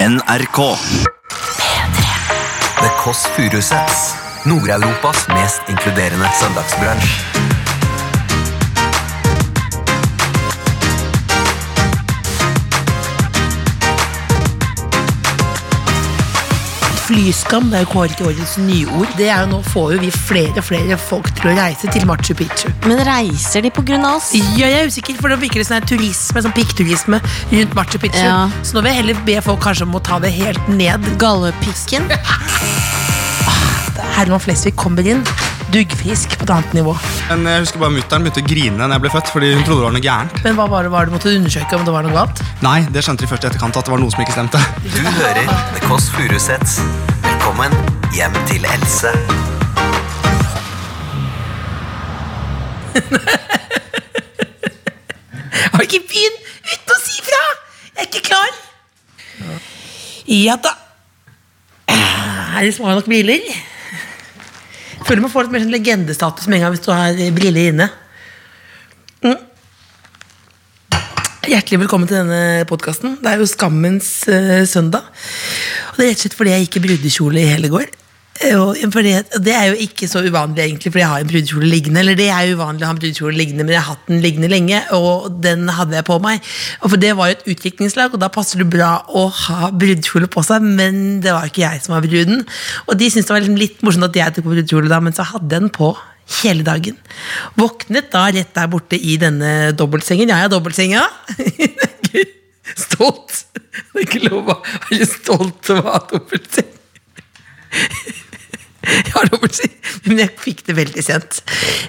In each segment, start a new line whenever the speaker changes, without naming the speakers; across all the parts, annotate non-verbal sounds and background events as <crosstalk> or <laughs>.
NRK.
The Kåss Furuseths. Nord-Europas mest inkluderende søndagsbransj.
Flyskam det er jo kåret til årets nyord. Det er jo Nå får jo vi flere flere folk til å reise til Machu Picchu.
Men reiser de på grunn av oss?
Ja, jeg er usikker, for nå virker det sånn her turisme, sånn pikkturisme rundt Machu Picchu.
Ja.
Så nå vil jeg heller be folk kanskje om å ta det helt ned. <laughs> Ah,
Gallepikken?
Herman Flesvig kommer inn, duggfrisk på et annet nivå.
Men jeg husker bare Mutter'n begynte å grine da jeg ble født. fordi hun trodde det var noe gærent.
Men hva var det, var det du måtte undersøke om det var noe galt?
Nei, det skjønte de først i etterkant. at det var noe som ikke stemte.
Du hører The Kåss Furuseths. Velkommen hjem til Else.
Har ikke begynt uten å si fra! Jeg er ikke klar! Ja da. Eh, Er det små nok briller? Føler man får litt mer sånn legendestatus med en gang hvis du har briller inne. Mm. Hjertelig velkommen til denne podkasten. Det er jo skammens eh, søndag. Og det er rett og slett fordi jeg gikk i brudekjole i hele går. Eh, Og fordi, og det er jo ikke så uvanlig, egentlig, fordi jeg har en brudekjole liggende. Eller det er jo uvanlig å ha en brudekjole liggende, men jeg har hatt den liggende lenge, og den hadde jeg på meg. Og for det var jo et utviklingslag, og da passer det bra å ha brudekjole på seg, men det var jo ikke jeg som var bruden. Og de syntes det var liksom litt morsomt at jeg tok på brudekjole da, men så hadde jeg den på hele dagen. Våknet da rett der borte i denne dobbeltsengen. Jeg har dobbeltseng, ja. Det er ikke- Stolt. Det er ikke lov å være stolt av å ha dobbeltseng. Jeg har dobbeltseng, men jeg fikk det veldig sent.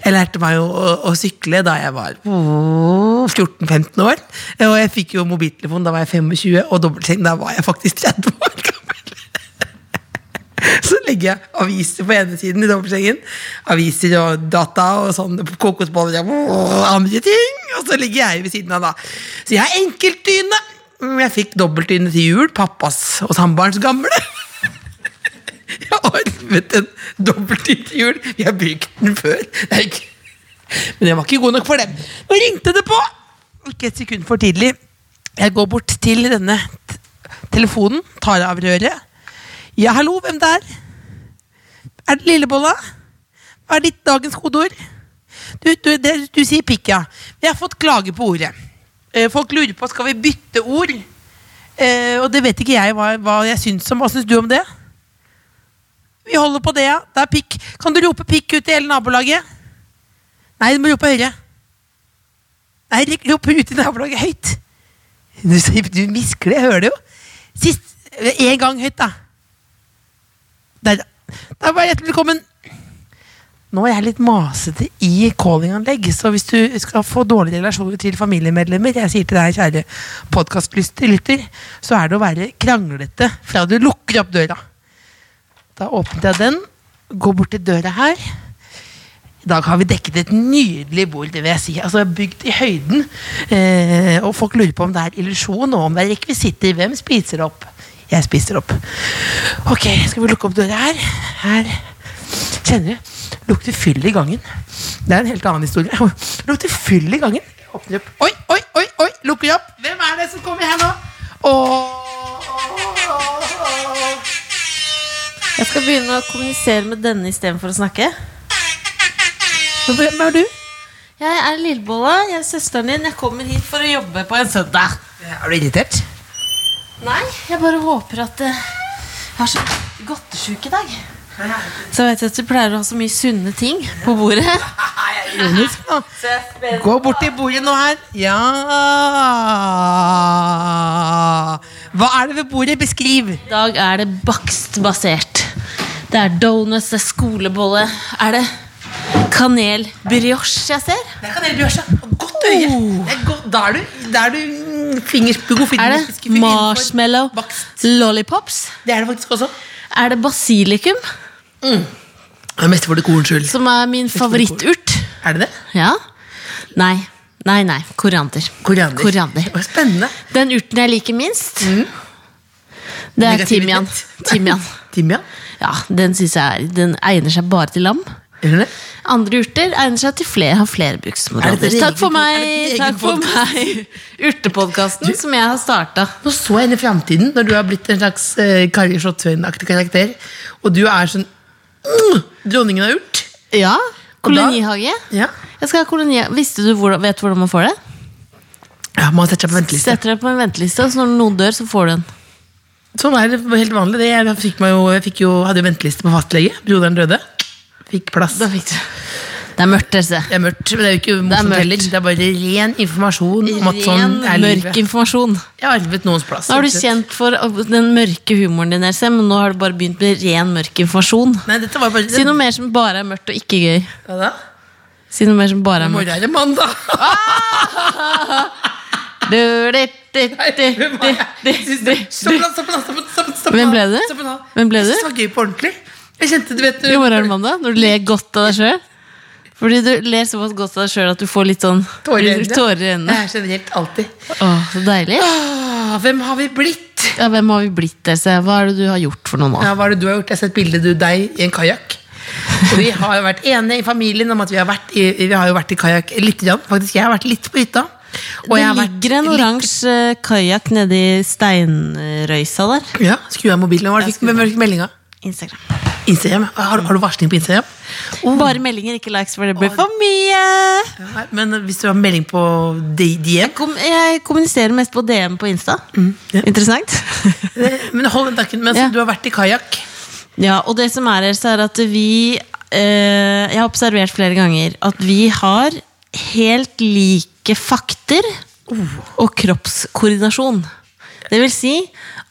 Jeg lærte meg jo å, å sykle da jeg var åh, 14-15 år. Og jeg fikk jo mobiltelefon da var jeg 25, og dobbeltseng da var jeg faktisk 30 år gammel. <laughs> Så legger jeg aviser på ene siden i dobbeltsengen. Aviser og data og sånn kokosboller og andre ting. Og så ligger jeg ved siden av, da. Så jeg har enkeltdyne. Mm, Jeg fikk dobbeltdyne til jul. Pappas og samboerens gamle. <laughs> Jeg har arvet en dobbeltdyne til jul. Vi har brukt den før. Det er ikke... Men jeg var ikke god nok for dem. Nå ringte det på! Ikke et sekund for tidlig. Jeg går bort til denne t- telefonen, tar av røret. Ja, hallo, hvem der? Er det Lillebolla? Hva er ditt dagens kodeord? Du, du, det, du sier pikk, ja. Vi har fått klage på ordet. Eh, Folk lurer på skal vi bytte ord. Eh, og det vet ikke jeg hva, hva jeg syns om. Hva syns du om det? Vi holder på det, ja. Det er pikk. Kan du rope pikk ut i hele nabolaget? Nei, du må rope høyere. Nei, rop ut i nabolaget høyt. Du, sier- du misker det, jeg hører det jo. Sist, En gang høyt, da. Der, der var jeg hjertelig velkommen. Nå er jeg litt masete i callinganlegg, så hvis du skal få dårlige relasjoner til familiemedlemmer, jeg sier til deg, kjære podkastlytter, så er det å være kranglete fra du lukker opp døra. Da åpnet jeg den, går bort til døra her. I dag har vi dekket et nydelig bord, det vil jeg si. Altså Bygd i høyden. Eh, og folk lurer på om det er illusjon, og om det er rekvisitter. Hvem spiser opp? Jeg spiser opp. Ok, skal vi lukke opp døra her? Her. Kjenner du? Lukter fyll i gangen. Det er en helt annen historie. <laughs> Lukter fyll i gangen. Åpner opp. Oi, oi, oi, oi, lukker opp. Hvem er det som kommer her nå? Åh.
Jeg skal begynne å kommunisere med denne istedenfor å snakke.
Hvem er du?
Jeg er Lillebolla. Jeg er søsteren din. Jeg kommer hit for å jobbe på en søndag.
Er du irritert?
Nei, jeg bare håper at eh, Jeg har så godtesjuk i dag. Så jeg vet at du pleier å ha så mye sunne ting på bordet.
Ironisk, da. Gå bort til bordet nå her. Ja Hva er det ved bordet? Beskriv.
I dag er det bakstbasert. Det er donuts, det er skolebolle. Er det kanel brioche jeg ser?
Det er kanelbrioche. Godt øye. Det er godt. Da er du, da er du mm, fingers, god
Er
fingerspiss-
det marshmallow
Bakst.
lollipops?
Det er det faktisk også.
Er det basilikum,
Det er mest for det korns skyld.
som er min favoritturt?
Er det det?
Ja? Nei. Nei, nei. Koriander.
Koriander.
Koriander.
Å, Spennende.
Den urten jeg liker minst, det er
Negativitet.
timian. Timian.
Timian.
Ja, den synes jeg er- Den egner seg bare til lam.
Er det det?
Andre urter egner seg til flere, har flere
Er det
bruksområder.
din
Takk
egen
for
pod- er
meg,
det din egen
takk for meg. urtepodkasten som jeg har starta.
Nå så jeg inn i framtiden, når du har blitt en slags eh, Kari Slottsveen-aktig karakter. Og du er sånn mm, Dronningen av urt.
Ja,
Og da-
kolonihage.
Ja.
Jeg skal ha koloni... Visste du hvordan, vet du hvordan man får det?
ja, man setter seg på venteliste.
Setter deg på en venteliste, og så når noen dør, så får du en.
Sånn er det helt vanlig. Det. Jeg, fikk meg jo, jeg fikk jo, hadde jo venteliste på fastlege. Broderen døde. Fikk plass.
Da fikk du. Det er mørkt, dere.
Det er mørkt, men det er jo ikke
mørkt.
morsomt heller. Det er bare ren informasjon om at sånn er
Ren, mørk
livet.
informasjon.
Jeg har arvet noens plass.
Nå har du
rett og slett.
kjent for den mørke humoren din, Else, men nå har du bare begynt med ren, mørk informasjon.
Nei, dette var bare
Si noe mer som bare er mørkt og ikke gøy.
Hva da?
Si noe mer som bare
I
er mørkt.
morgen er det mandag!
Ah, Du, du, du, du, du, du, du,
Stopp
du.
nå, stopp nå, stopp nå, stopp nå, stopp
Hvem
nå,
ble du?
stopp nå.
Hvem ble du?
Jeg synes Det var gøy på ordentlig. Jeg kjente, du vet
I morgen er det mandag, når du ler godt av deg sjøl. Fordi du ler såpass godt av deg sjøl at du får litt sånn
Tårer i øynene.
tårer i øynene.
Jeg er generelt alltid.
Å, så deilig.
Ah, hvem har vi blitt?
Ja, hvem har vi blitt, Else? Hva er det du har gjort for noe nå?
Ja, hva er det du har gjort? Jeg har sett bildet du deg i en kajakk. Og vi har jo vært enige i familien om at vi har vært i, vi har jo vært i kajakk litt. Grann. Faktisk, jeg har vært litt på hytta. Og
Det
jeg har vært
ligger en
litt-
oransje eh, kajakk nedi steinrøysa der.
Ja, skru av mobilen. Hva var det fikk- Hvem fikk meldinga?
Instagram.
Instagram? Har, har du varsling på Instagram?
Oh. Bare meldinger, ikke likes, for det blir for mye.
Nei, Men hvis du har melding på D- DM
Kom, jeg kommuniserer mest på DM på Insta.
Mm, ja. <laughs>
Interessant.
Men hold den takken mens
Ja.
du har vært i kajakk.
ja, og det som er, Else, er at vi eh, Jeg har observert flere ganger at vi har helt like fakter
Oh.
og kroppskoordinasjon. Det vil si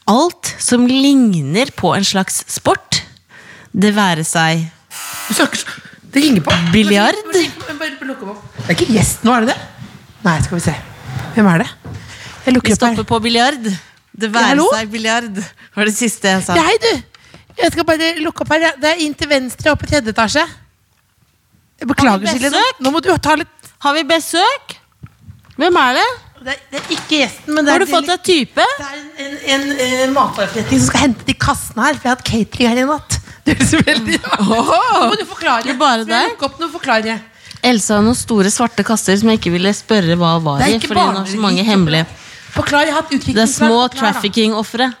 alt som ligner på en slags sport. Det være seg
Du snakker så Det ringer på.
Biljard?
Bare- bare- bare- bare lukk opp. Det er ikke gjest nå, er det det? Nei, skal vi se. Hvem er det? Jeg
Vi
lukker opp her.
stopper på biljard. Det
Ja,
være
hallo?
seg biljard var det siste jeg sa.
Hei, du! Jeg skal bare lukke opp her. ja. Det er inn til venstre oppe i tredje etasje. Jeg Beklager,
Har vi
Silje.
besøk?
nå- Nå må du ta litt
Har vi besøk? Hvem er det?
Det er, det er ikke gjesten, men det er
Har du fått deg type?
Det er en, en, en, eh, matvareforretning som skal hente de kassene her, for jeg har hatt catering her i natt. Det høres veldig rart ut. Nå må du forklare.
Det er bare
Skal jeg
deg?
lukke opp noe og forklare.
Else har noen store svarte kasser som jeg ikke ville spørre hva var
Det er
i.
ikke
Fordi hun har så
barneri.
mange hemmelige
Forklar, jeg har hatt
Det er små
utviklingsplan. Forklar, da.
trafficking-ofre.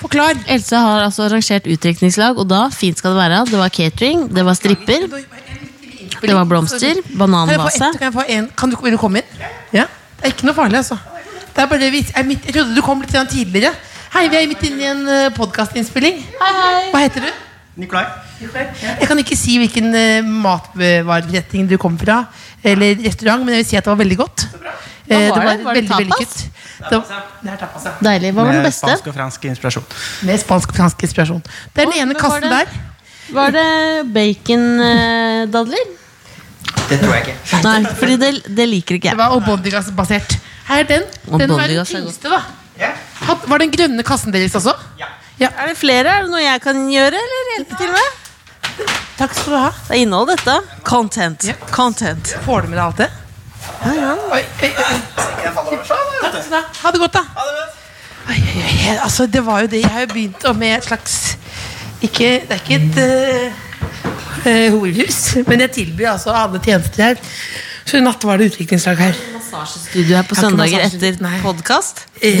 Forklar.
Else har altså arrangert utdrikningslag, og da fint skal det være. Det var catering, det var stripper. Det var blomster, bananvase.
Kan jeg få ett, Kan, jeg få en? kan du vil du komme inn? Ja. Det er ikke noe farlig, altså. Det er bare, vi- jeg, midt, jeg trodde du kom litt grann tidligere. Hei, vi er midt inne i en podkastinnspilling. Hva heter du?
Nikolai.
Jeg kan ikke si hvilken eh, matvareforretning du kom fra, eller restaurant, men jeg vil si at det var veldig godt. Eh,
Hva var det? Var det
veldig
tapas?
vellykket. Det var- Det er tapas, ja.
Deilig. Hva var den beste?
eh, spansk og fransk inspirasjon.
Med spansk og fransk inspirasjon. Det er
Oi,
den ene
men var
kassen der.
det- Var det bacondadler?
Det tror jeg ikke.
Nei, fordi det, det liker ikke jeg.
Det var Obondigas-basert. Her er den. Den var den
Obondigas er
tyngste, da. Had- Var den grønne kassen deres også?
Ja.
Ja.
Er det flere? Er det noe jeg kan gjøre? Eller hjelpe til med?
Takk skal du ha.
Det er innhold, dette. Content.
Ja.
Content.
Får du med deg alt det? Oi, oi, oi. Takk skal du ha. sånn, Ha det godt, da. Oi, oi, oi. Altså, det var jo det jeg har jo begynt å- med et slags ikke, Det er ikke et eh, eh, horehus, men jeg tilbyr altså alle tjenester her. Så i natt var det utviklingslag her.
Massasjestudio her på
Jeg har ikke
søndager
massasjestudio,
etter
nei.
podkast. <laughs>
ikke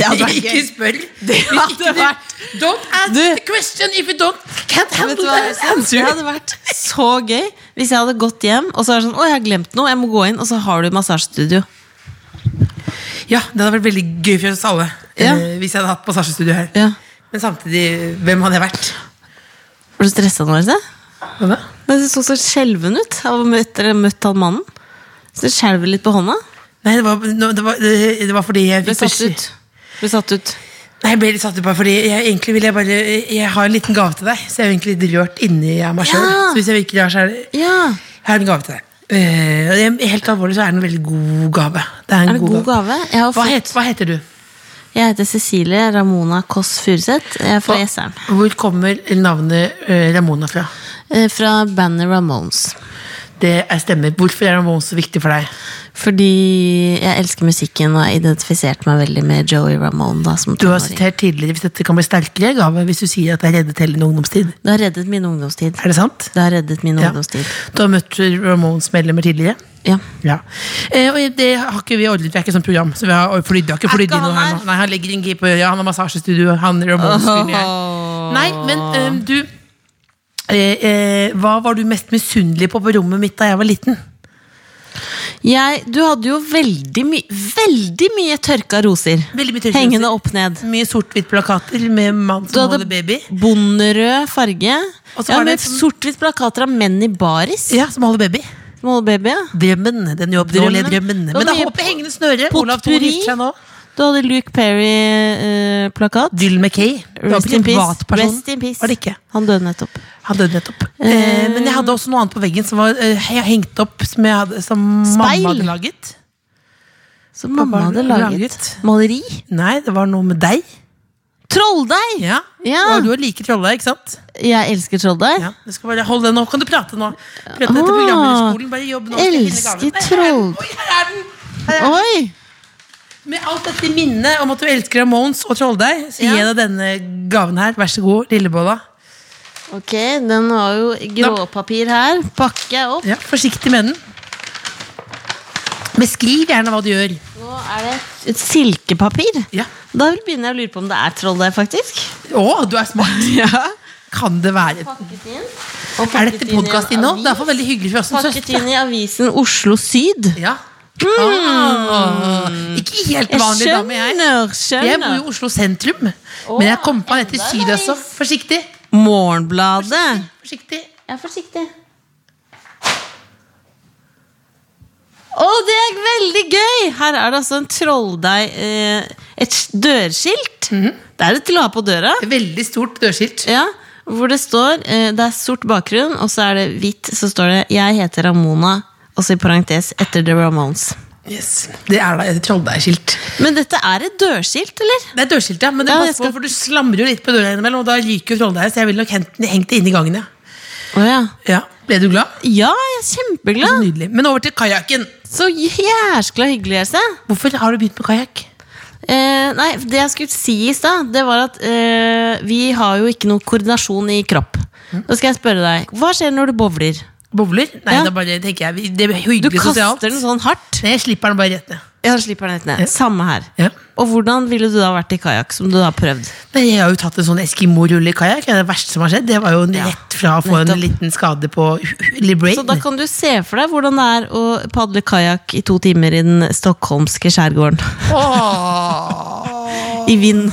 spør.
hadde
Ikke-
vært-
Don't ask
Du-
the question if you don't can't handle
Vet du hva,
the answer.
Det hadde vært så gøy hvis jeg hadde gått hjem og så er det sånn, å jeg har glemt noe, jeg må gå inn, og så har du massasjestudio.
Ja, det hadde vært veldig gøy for oss alle
Ja.
eh, hvis jeg hadde hatt passasjestudio her.
Ja.
Men samtidig, hvem hadde jeg vært?
Var du stressa nå, Else?
Hva da?
Men Du så så skjelven ut av å møte, møtt han mannen. Så det skjelver litt på hånda.
Nei, det var, nå- det var, det det var fordi jeg
Ble
fikk
satt
beskjed-
ut. Ble satt ut.
Nei, jeg ble litt satt ut bare fordi jeg, egentlig vil jeg bare Jeg har en liten gave til deg, så jeg er jo egentlig litt rørt inni av meg sjøl.
Ja.
Så hvis jeg virker rar, så er det
Ja.
Jeg har en gave til deg. Eh, og det er- helt alvorlig så er det en veldig god gave. Det er en
Er det god gave? Jeg, har
Hva,
fått,
het, hva heter du?
jeg heter Cecilie Ramona Kåss Furuseth. Jeg er fra
Hva-
Jesseren.
Hvor kommer navnet eh, Ramona fra?
Eh, Fra bandet Ramones.
Det er stemmer. Hvorfor er Ramones så viktig for deg?
Fordi jeg elsker musikken og har identifisert meg veldig med Joey Ramone. Da, som
Du har
tenåring.
sitert tidligere hvis dette kan bli sterkere gave hvis du sier at det har reddet hele din ungdomstid.
Det har reddet min ungdomstid.
Er det sant?
Det har reddet min
Ja.
ungdomstid.
Du har møtt Ramones medlemmer tidligere?
Ja.
Ja. Eh, og det har ikke vi ordnet, vi er ikke sånn program. Så vi har flydd, har ikke
Er
flydd
ikke
inn
han
noe her
her?
nå. Nei, han legger inn key på øya, han har massasjestudio, han Ramones-fyren jeg er. Nei, men eh, du eh, eh, Hva var du mest misunnelig på på rommet mitt da jeg var liten?
Jeg, du hadde jo veldig, my veldig mye tørka roser.
Veldig mye tørka
Hengende
roser.
opp ned.
Mye sort-hvitt-plakater med mann
Du
som
hadde
holder baby.
bonderød farge.
Og så
Ja,
var det
med
et sånn-
Sort-hvitt plakater av menn i baris.
Ja, som holder baby.
Som holder baby. ja.
Drømmen. Den uoppnåelige drømmen.
Det var
Men da
mye
håper jeg hengende snøre. Olav Thon
potpourri.
gifter seg nå.
Du hadde Luke Perry-plakat.
Dylan McKay. Det var
Rest
ikke
in
en
peace.
privatperson.
Rest in peace.
Var det ikke?
Han døde nettopp.
Han døde nettopp. Eh, men jeg hadde også noe annet på veggen som var eh, he- hengt opp som, jeg hadde, som
Speil?
mamma hadde laget.
Så mamma
Pappa
hadde laget,
laget.
maleri.
Nei, det var noe med deg.
Trolldeig!
Ja. Eh.
Ja.
Og du er like trolla, ikke sant?
Jeg elsker trolldeig.
Ja. Du skal bare holde den nå. Kan du prate nå? Prate etter
Ah.
programlederskolen. Bare jobb nå. skal jeg finne
Elsker
gaven. Nei, her er den.
troll.
Oi, her er den!
Oi!
Med alt dette minnet om at du elsker Ramones og trolldeig, så gir
Ja.
jeg deg denne gaven her. Vær så god, lillebolla.
Ok, den har jo gråpapir her. Pakker jeg opp.
Ja, forsiktig med den. Beskriv gjerne hva du gjør.
Nå er det et silkepapir.
Ja.
Da begynner jeg å lure på om det er trolldeig, faktisk.
Å, du er <laughs> smart! Kan det være
Pakket inn.
Er dette podkastinnhold? Det er iallfall veldig hyggelig for oss som
Pakket
søstre.
inn i avisen Oslo Syd.
Ja. Ah, ikke helt
Mm. Jeg
vanlig dame, jeg.
skjønner,
Jeg bor i
skjønner.
Oslo sentrum, men jeg kom på den etter
enda
syd også.
nice.
Forsiktig.
Morgenbladet.
Forsiktig.
Jeg er forsiktig. Å, det er veldig gøy! Her er det altså en trolldeig eh, Et s- dørskilt. Det er det til å ha på døra.
Veldig stort dørskilt.
Ja, hvor Mhm. det står eh, Det er sort bakgrunn, og så er det hvitt. Så står det 'Jeg heter Ramona', og så i parentes etter The Ramones.
Yes. Det er da et trolldeigskilt.
Men dette er et dørskilt, eller?
Det er dørskilt, ja, men det
Ja,
passer
jeg skal-
på, for du slamrer jo litt på døra innimellom, og da ryker jo trolldeig, så jeg ville nok hengt den- hengt det inn i gangen, ja.
Å ja.
ja. Ble du glad?
ja, jeg er kjempeglad!
Nydelig. Men over til kajakken.
Så jæskla hyggelig, Else.
Hvorfor har du begynt med kajakk?
Eh, nei, det jeg skulle si i stad, det var at eh, vi har jo ikke noe koordinasjon i kropp.
Mm.
Da skal jeg spørre deg, hva skjer når du bowler?
Bowler? Nei,
Ja.
da bare tenker jeg vi- Det er
Du
hyggelig
kaster
sosialt.
den sånn hardt.
Nei, jeg slipper den bare rett ned.
Ja, slipper den helt ned. Samme her.
Ja.
Og hvordan ville du da vært i kajakk, som du da har prøvd?
Nei, jeg har jo tatt en sånn Eskimo-rulle i kajakk. Det er det verste som har skjedd. Det var jo
Ja,
rett fra å få en
nettopp.
liten skade på Librain.
Så da kan du se for deg hvordan det er å padle kajakk i to timer i den stockholmske skjærgården. I vind.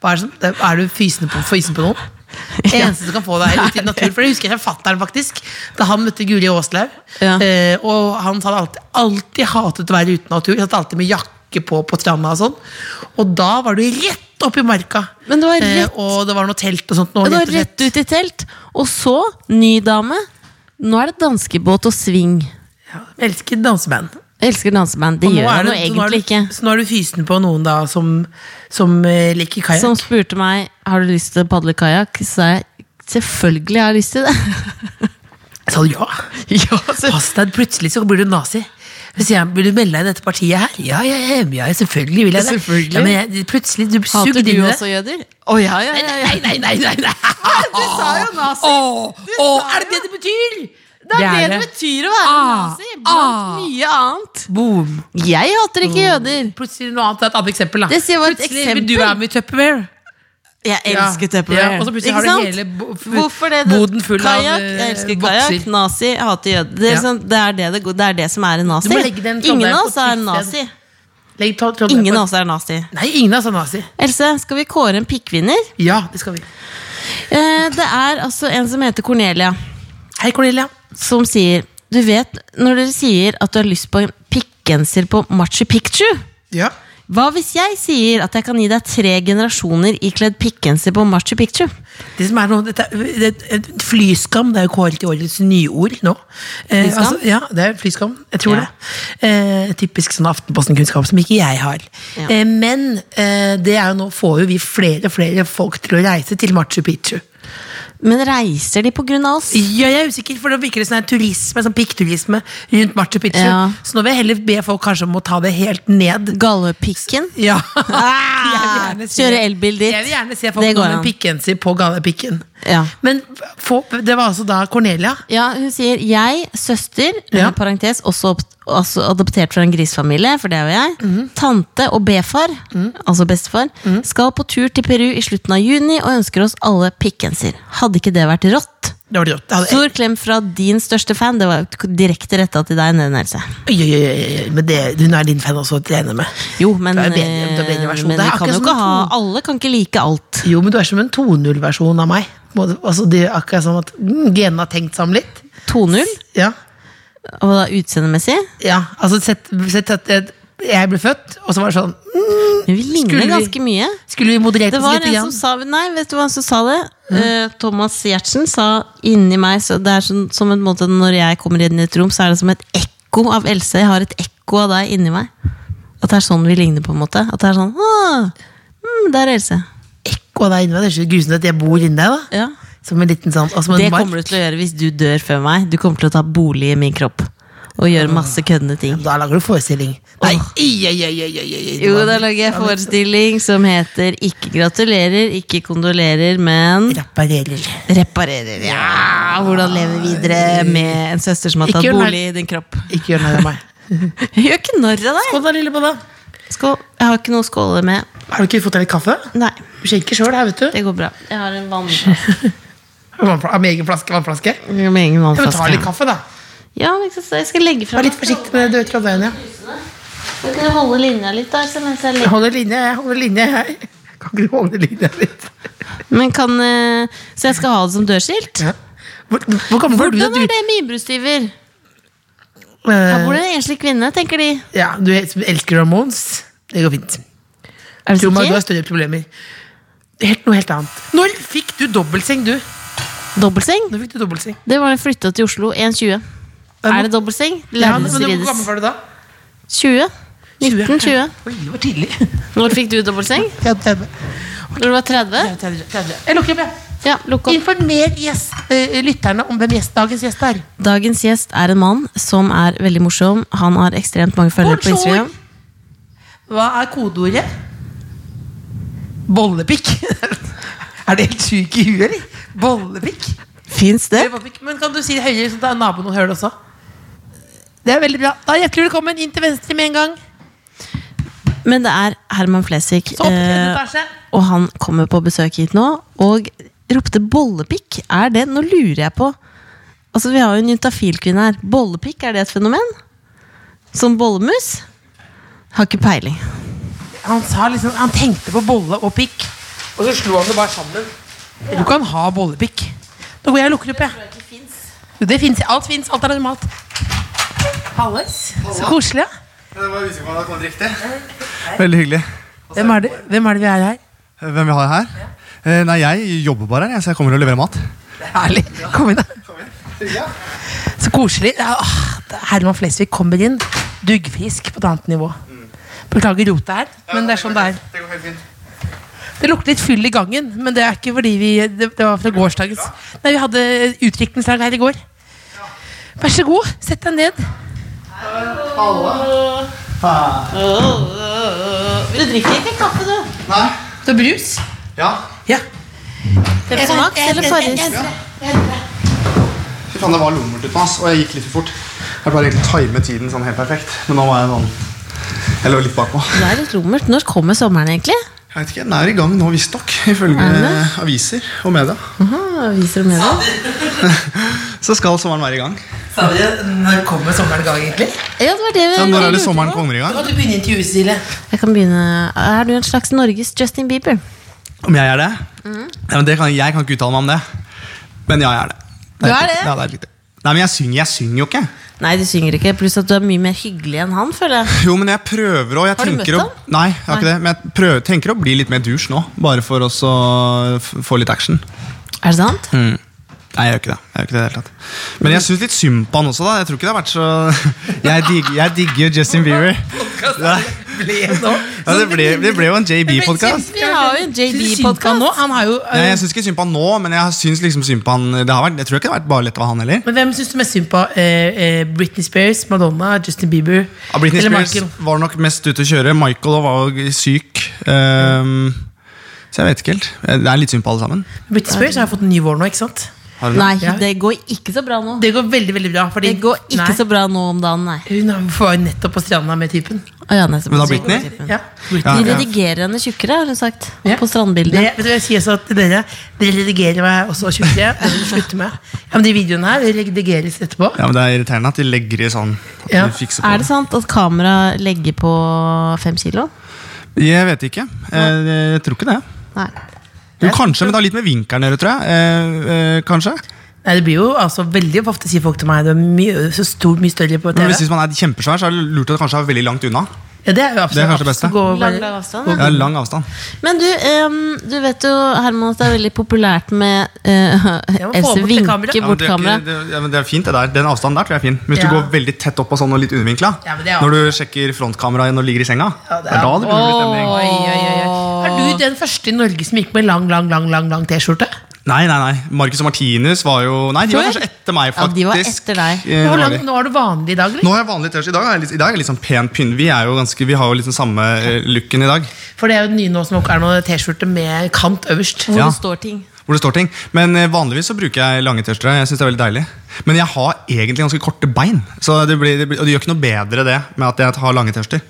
Hva er, det som, er du fysen på, fysen på noen? Det eneste som kan få deg ut i naturen. For det husker jeg fra fatter'n, faktisk. Da han møtte Guri Aaslaug.
Ja.
Eh, og han hadde alltid, alltid hatet å være uten natur. Han satt alltid med jakke på på stranda og sånn. Og da var du rett opp i marka. Eh,
Men det var rett-
og det var noe telt og sånt. Noe,
Og da rett ut i telt. Og så, ny dame. Nå er det danskebåt og sving.
Ja, elsker danseband.
Jeg elsker danseband. Det
Og nå
gjør
er
jeg nå
du- nå er du-
egentlig ikke.
Så nå er du fysen på noen da som, som eh, liker
Som
kajakk?
spurte meg har du lyst til å padle kajakk, så sa jeg selvfølgelig har jeg lyst til det.
Sa du ja? Pass deg, plutselig så blir du nazi. Så sier han, Vil du melde deg i dette partiet her? Ja, ja, ja, ja selvfølgelig vil jeg det.
Selvfølgelig.
Ja, men jeg, plutselig, du
Hater
sugde
du
inn i det.
også jøder? Å ja, ja, ja, ja.
<laughs> Nei, nei, nei, nei, nei.
Du sa jo nazi!
Åh,
Du
åh,
sa
er det det det betyr?
Det er det det betyr å være
Ah,
nazi, blant
ah.
mye annet.
Boom.
Jeg hater ikke jøder.
Plutselig noe annet, et annet eksempel. Da.
Det sier bare et
plutselig
eksempel.
vil du være med i Tupperware.
Jeg
Ja,
elsker
ja,
Tupperware.
og så plutselig
Ikke
har du
sant?
hele bo- f-
Hvorfor det?
boden full av,
kajakk,
eh,
Jeg elsker
bokser.
kajakk, nazi, jeg hater jøder. Det er,
Ja.
sånn- det, er det, det, går- det er det som er en nazi.
Du må legge den
Ingen
trommelen
av
på
oss er
et trygt
nazi.
sted. Legg tro- tro-
Ingen av oss er nazi.
Nei, ingen av oss er nazi.
Else, skal vi kåre en pikkvinner?
Ja, det skal vi.
Eh, det er altså en som heter Cornelia,
Hei, Cornelia.
som sier Du vet når dere sier at du har lyst på en pikkgenser på Machu Picchu?
Ja.
Hva hvis jeg sier at jeg kan gi deg tre generasjoner ikledd pikkgenser på Machu Picchu?
Det som er noe, dette, er- det, er et flyskam det er jo kåret til årets nyord nå. Eh,
Flyskam?
ja, det er flyskam. Jeg tror
Ja.
det. Eh, typisk sånn Aftenposten-kunnskap som ikke jeg har.
Ja.
Eh, men eh, det er jo nå får jo vi flere og flere folk til å reise til Machu Picchu.
Men reiser de pga. oss?
Ja, jeg er usikker, for da virker det sånn her turisme, sånn pikkturisme rundt Machu Picchu.
Ja.
Så nå vil jeg heller be folk kanskje om å ta det helt ned.
Gallepikken?
Ja. <laughs>
Ah,
Jeg vil gjerne se-
kjøre elbil dit.
Jeg vil gjerne se
Det
folk
går
med
an.
pikken sin på gallepikken.
Ja.
Men få- det var altså da Cornelia.
Ja, hun sier 'jeg, søster',
Ja.
eh, parentes, også opp- altså adoptert fra en grisfamilie, for det er jo jeg,
Mhm.
tante og befar, altså bestefar, skal på tur til Peru i slutten av juni og ønsker oss alle pikkenser. Hadde ikke det vært rått?
Det var det rått. Det hadde-
Stor klem fra din største fan. Det var jo direkte retta til deg, Nene Else.
Oi, oi, oi, oi, Men det, hun er din fan også, det er jeg enig med.
Jo, men,
Det er
eh,
en bedre- det er en bedre versjon.
men
Det
vi
er
kan jo
akkurat som
ikke
en
ha
to-
Alle kan ikke like alt.
Jo, men du er som en 2.0-versjon av meg. På en måte, Altså, det er akkurat som at mm, genene har tenkt sammen litt.
2-0,
Ja,
og da utseendemessig.
ja altså sett, sett at jeg- jeg ble født, og så var det sånn mm,
Vi ligner
Skulle vi-
ganske mye.
Skulle vi moderert
Det
oss
var
litt?
en sånn som
igjen?
sa Nei, vet du hva som sa det? Eh, Thomas Giertsen sa inni meg så Det er sånn, som en måte Når jeg kommer inn i et rom, så er det som et ekko av Else. Jeg har et ekko av deg inni meg. At det er sånn vi ligner, på en måte. At det er sånn ah, mm, Der er Else.
ekko av deg inni meg. Det er så grusomt at jeg bor inni deg. da
Ja.
Som en liten sånn og som en
Det
mark.
kommer du til å gjøre hvis du dør før meg. Du kommer til å ta bolig i min kropp. Og gjøre masse køddende ting.
Da lager du forestilling. Nei, i, i, i, i, i, i, i.
Jo, da lager jeg forestilling som heter Ikke gratulerer, ikke kondolerer, men
Reparerer.
Reparerer, ja. Hvordan leve videre med en søster som har tatt
Ikke gjør
bolig i din kropp. <laughs>
Ikke gjør narr av meg.
Jeg gjør ikke narr av deg!
Kom da, lille Bolla.
Skål. Jeg har ikke noe å skåle med.
Har du ikke fått deg litt kaffe?
Nei,
Du skjenker sjøl her, vet du.
det går bra. Jeg har en vannflaske.
Vannfla- Med egen flaske, vannflaske. Ja,
Med egen
men ta litt
vannflaske.
kaffe, da.
Ja, men ikke sant, jeg skal legge fra
Vær litt forsiktig med det. Du vet ikke hva det er, ja.
Kan ikke du holde linja litt, da? så mens jeg legger-
Jeg holder linje, jeg holder linje, jeg. Kan ikke du holde linja litt?
Men kan, eh, så jeg skal ha det som dørskilt?
Ja. Hvor, hvor gammel var du?
Hvordan
da
er
du
det Eh. med innbruddstyver? Her bor
Eh,
det en enslig kvinne, tenker de.
ja, du elsker hormones. Det går fint.
Er du
Tro meg,
sikker?
du har større problemer. Helt noe helt annet. Når fikk du dobbeltseng, du?
Dobbeltseng?
Når fikk du dobbeltseng?
Det var flytta til Oslo 1,20.
Ja,
Er det dobbeltseng?
Ja, men, men hvor
Lerretrides.
gammel var du da?
20? 1920.
Oi, det var <laughs> tidlig.
Når fikk du dobbeltseng?
30.
Når du var 30?
30. 30. Jeg lukker opp, jeg.
Ja, lukk opp.
Informer gjest, eh, lytterne om hvem gjest, dagens gjest er.
Dagens gjest er en mann som er veldig morsom. Han har ekstremt mange følgere på
Bonjour.
Instagram.
Hva er kodeordet? Bollepikk. <laughs> er det helt syk i huet, eller? Bollepikk.
Fins det?
Bollepikk. Men kan du si det høyere, så da naboen hører det også? Det er veldig bra. Da er Hjertelig velkommen inn til venstre med en gang.
Men det er Herman Flesvig.
Så opp i tredje
eh,
etasje.
og han kommer på besøk hit nå og ropte 'bollepikk'. Er det Nå lurer jeg på Altså, vi har jo en juntafilkvinne her. Bollepikk, er det et fenomen? Som bollemus? Har ikke peiling.
Han, sa liksom, han tenkte på bolle og pikk, og så slo han det bare sammen. Du kan ha bollepikk. Nå går jeg og lukker opp, jeg. Jo, det finnes. Alt fins. Alt er normalt. Halles. Så koselig. ja.
Veldig hyggelig.
Hvem er det, hvem er det vi er her?
Hvem vi har her? Eh, Nei, jeg jobber bare her, jeg, så jeg kommer og leverer mat.
Herlig. Kom inn, da. Så koselig. Ja, ah, det- Herman Flesvig kommer inn. Duggfisk på et annet nivå. Beklager rotet her, men det er sånn det er.
Det går helt fint.
Det lukter litt fyll i gangen, men det er ikke fordi vi Det, det var fra gårsdagens Nei, vi hadde utdrikningslag her i går. Vær så god, sett deg ned.
Du drikker ikke kaffe, du?
Nei.
Du har brus?
Ja.
Ja.
Pepsi Max eller Farris?
Fy faen, det var lommert ute, ass, og jeg gikk litt for fort. Jeg bare egentlig time tiden sånn helt perfekt, men nå var jeg sånn Jeg lå litt bakpå.
Det er litt rommelt. Når kommer sommeren, egentlig?
Jeg vet ikke, Den er i gang nå, visstnok, ifølge
Er den det?
aviser og media.
Aha, viser du med det?
Så skal sommeren være i gang.
Sa vi det? Når kommer sommeren i gang, egentlig?
Ja, det var det vi
Ja, når er det
lurte
sommeren
på.
kommer i
Da
gang?
kan du begynne intervjuet, Cecilie.
Jeg kan begynne. Er du en slags Norges Justin Bieber?
Om jeg er det? Ja, men det kan, jeg kan ikke uttale meg om det. Men ja, jeg er det.
Du er det?
Ja, det er riktig. Nei, men jeg synger, jeg synger jo ikke.
Nei, du synger ikke. Pluss at du er mye mer hyggelig enn han, føler jeg.
Jo, men jeg prøver å jeg
Har du
tenker
møtt
å- Nei, jeg har ikke det. Men jeg prøver, tenker å bli litt mer douche nå. Bare for også å f- få litt action.
Er det sant?
Mm. Nei, jeg gjør ikke det. Jeg gjør ikke det i det hele tatt. Men jeg syns litt <laughs> synd på han også, da. Jeg tror ikke det har vært så Jeg digger, jeg digger Justin Bieber. Nei.
ble nå.
Ja, det ble- det ble jo en JB-podcast.
Vi har jo en
Synka nå,
JB-podkast.
han har jo
Nei, jeg syns ikke synd på han nå, men jeg syns liksom synd på han det har vært, Jeg tror ikke det har vært bare lett å ha han heller.
øh, Men hvem syns du mest synd på? Eh, eh, Britney Spears, Madonna, Justin Bieber
Ja, Ah, Britney
eller
Spears
Michael?
var nok mest ute å kjøre. Michael var jo syk. ehm, så jeg vet ikke helt. Eh, Det er litt synd på alle sammen.
Britney Spears har jo fått en ny vår nå, ikke sant?
Har du det?
Nei,
Ja.
det går ikke så bra nå.
Det går veldig veldig bra. Fordi,
Det går ikke
Nei.
så bra nå om dagen, nei.
Hun var jo nettopp på stranda med typen.
Å, ja, nettopp.
Men da Britney?
Ja.
Ja,
De
ja.
redigerer henne tjukkere, har hun sagt.
Ja.
På
Det,
strandbildene.
vet du, hva jeg sier også til dere Dere redigerer meg også tjukkere. Det må dere slutte med. Ja, men De videoene her redigeres etterpå.
Ja, men Det er irriterende at de legger i sånn. At
Ja.
de fikser på
Er det sant at kamera legger på fem kilo?
det. Jeg vet ikke. Eh, jeg tror ikke det.
Nei.
Jo, kanskje, men det har litt med vinkelen å gjøre, tror jeg. Eh, eh, kanskje.
Nei, det blir jo altså veldig Ofte sier folk til meg Du er mye, så stor, mye større på
Men
TV.
hvis man er kjempesvær, så er det lurt å kanskje ha veldig langt unna.
Ja, det er jo
Det er
absolutt
kanskje det beste.
Gå over-
Lang, lang avstand, ja.
Ja, lang avstand.
Men du, ehm, du vet jo Herman, at det er veldig populært med eh,
må få
Else
bort det kameraet.
vinker
Ja, men
bort
det, er ikke,
kameraet.
det, ja, men det er fint, det der. Den avstanden der tror jeg er fin. Men Hvis
Ja.
du går veldig tett opp og sånn og litt undervinkla,
Ja, men det er
når du sjekker frontkameraet når du ligger i senga,
Ja, det
det er
er-
da det begynner å bli stemning.
Oi, oi, oi, oi. Er du den første i Norge som gikk med lang, lang, lang lang, lang T-skjorte?
Nei, nei, nei. Marcus og Martinus var jo Nei, de
Tror
var
jeg.
kanskje etter meg,
Ja,
faktisk.
de var etter deg.
Eh,
Hvor
var
lang-
de.
Nå er du vanlig i dag, eller?
Nå har jeg vanlig T-skjorte. I dag er jeg litt, i dag er jeg litt sånn pen pynn. Vi, er jo ganske, vi har jo liksom samme eh, looken i dag,
For det er jo den nye nå som er noe T-skjorte med kant øverst.
Hvor
Ja.
det står ting.
hvor det står ting. Men eh, vanligvis så bruker jeg lange T-skjorter. Jeg synes det er veldig deilig. Men jeg har egentlig ganske korte bein, så det blir, det blir, og det gjør ikke noe bedre det med at jeg har lange T-skjorter.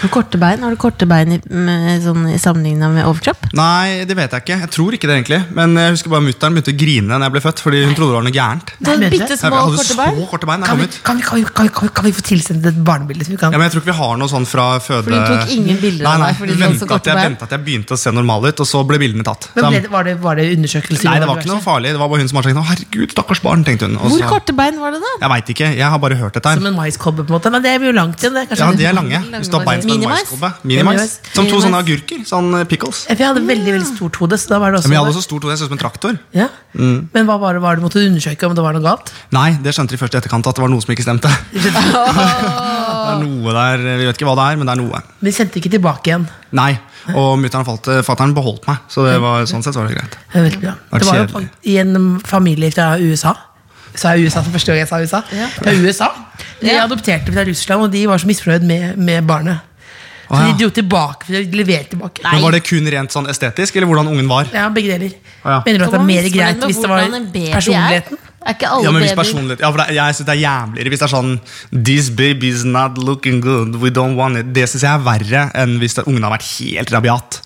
Har du korte bein? Har du korte bein i, med, sånn, i sammenligna med overkropp?
Nei, det vet jeg ikke. Jeg tror ikke det, egentlig. Men eh, jeg husker bare mutter'n begynte å grine da jeg ble født, fordi hun trodde det var noe gærent.
Du har
mener du
Sånn
det?
bitte
Jeg
små
hadde
korte bein.
så korte bein da jeg
Kan
kom
vi,
ut.
kan, vi, kan, vi, kan, vi, kan, vi, kan vi få tilsendt et barnebilde? Som vi kan?
Ja, men jeg tror ikke vi har noe sånn fra føde...
For hun tok ingen bilder
Mm. nei,
av
nei,
deg fordi
hun
du hadde
ventet
så korte
at jeg
bein.
ventet at jeg begynte å se normal ut, og så ble bildene tatt.
Men
Da-
ble, det- var, det, var det undersøkelser?
nei, det var ikke noe farlig. Det var bare hun som hadde sagt «Å, 'herregud, stakkars barn', tenkte hun. Og
Hvor
så-
korte bein var det, da?
Jeg veit ikke. Jeg har bare hørt dette
Som
her.
en maiskolbe, på en måte. Men det blir jo langt igjen. Det er kanskje
Ja,
litt-
de er lange. Hvis du har bein som en
Minimais.
maiskolbe. Minimais.
Minimais.
Som to sånne
Minimais.
agurker. Sånn eh, pickles.
Ja, for Jeg hadde veldig veldig stort hode, så da var det også
Men jeg hadde også Mm. stort hode. Jeg så ut som en traktor.
ja. Men hva var det, var det måtte du undersøke om det var noe galt?
Nei, det skjønte de først i etterkant, at det var noe som ikke stemte. Det er noe der, Vi vet ikke hva det er, men det er noe.
Men de sendte ikke tilbake igjen.
Nei. Og mutter'n og fatter'n beholdt meg, så det var, sånn sett så var det greit.
Det var veldig bra.
Vært
Det var jo
kjedelig.
fakt- i en familie fra USA. Sa jeg USA for første gang jeg sa USA? Fra USA. De
Ja.
adopterte fra Russland, og de var så misfornøyd med, med barnet. Så
Å, ja.
de dro tilbake, for de leverte tilbake.
Men Var det kun rent sånn estetisk, eller hvordan ungen var?
Ja, begge deler.
Å, ja.
Mener du at det
Kan
er
man
mer
misfornøyd
greit
med
hvis det var
hvordan en baby er?
personligheten?
Er ikke alle
Ja, men hvis
babyer
personlighet ja, for det, Jeg synes det er jævligere hvis det er sånn This baby's not looking good, we don't want it Det synes jeg er verre enn hvis det, ungen har vært helt rabiat.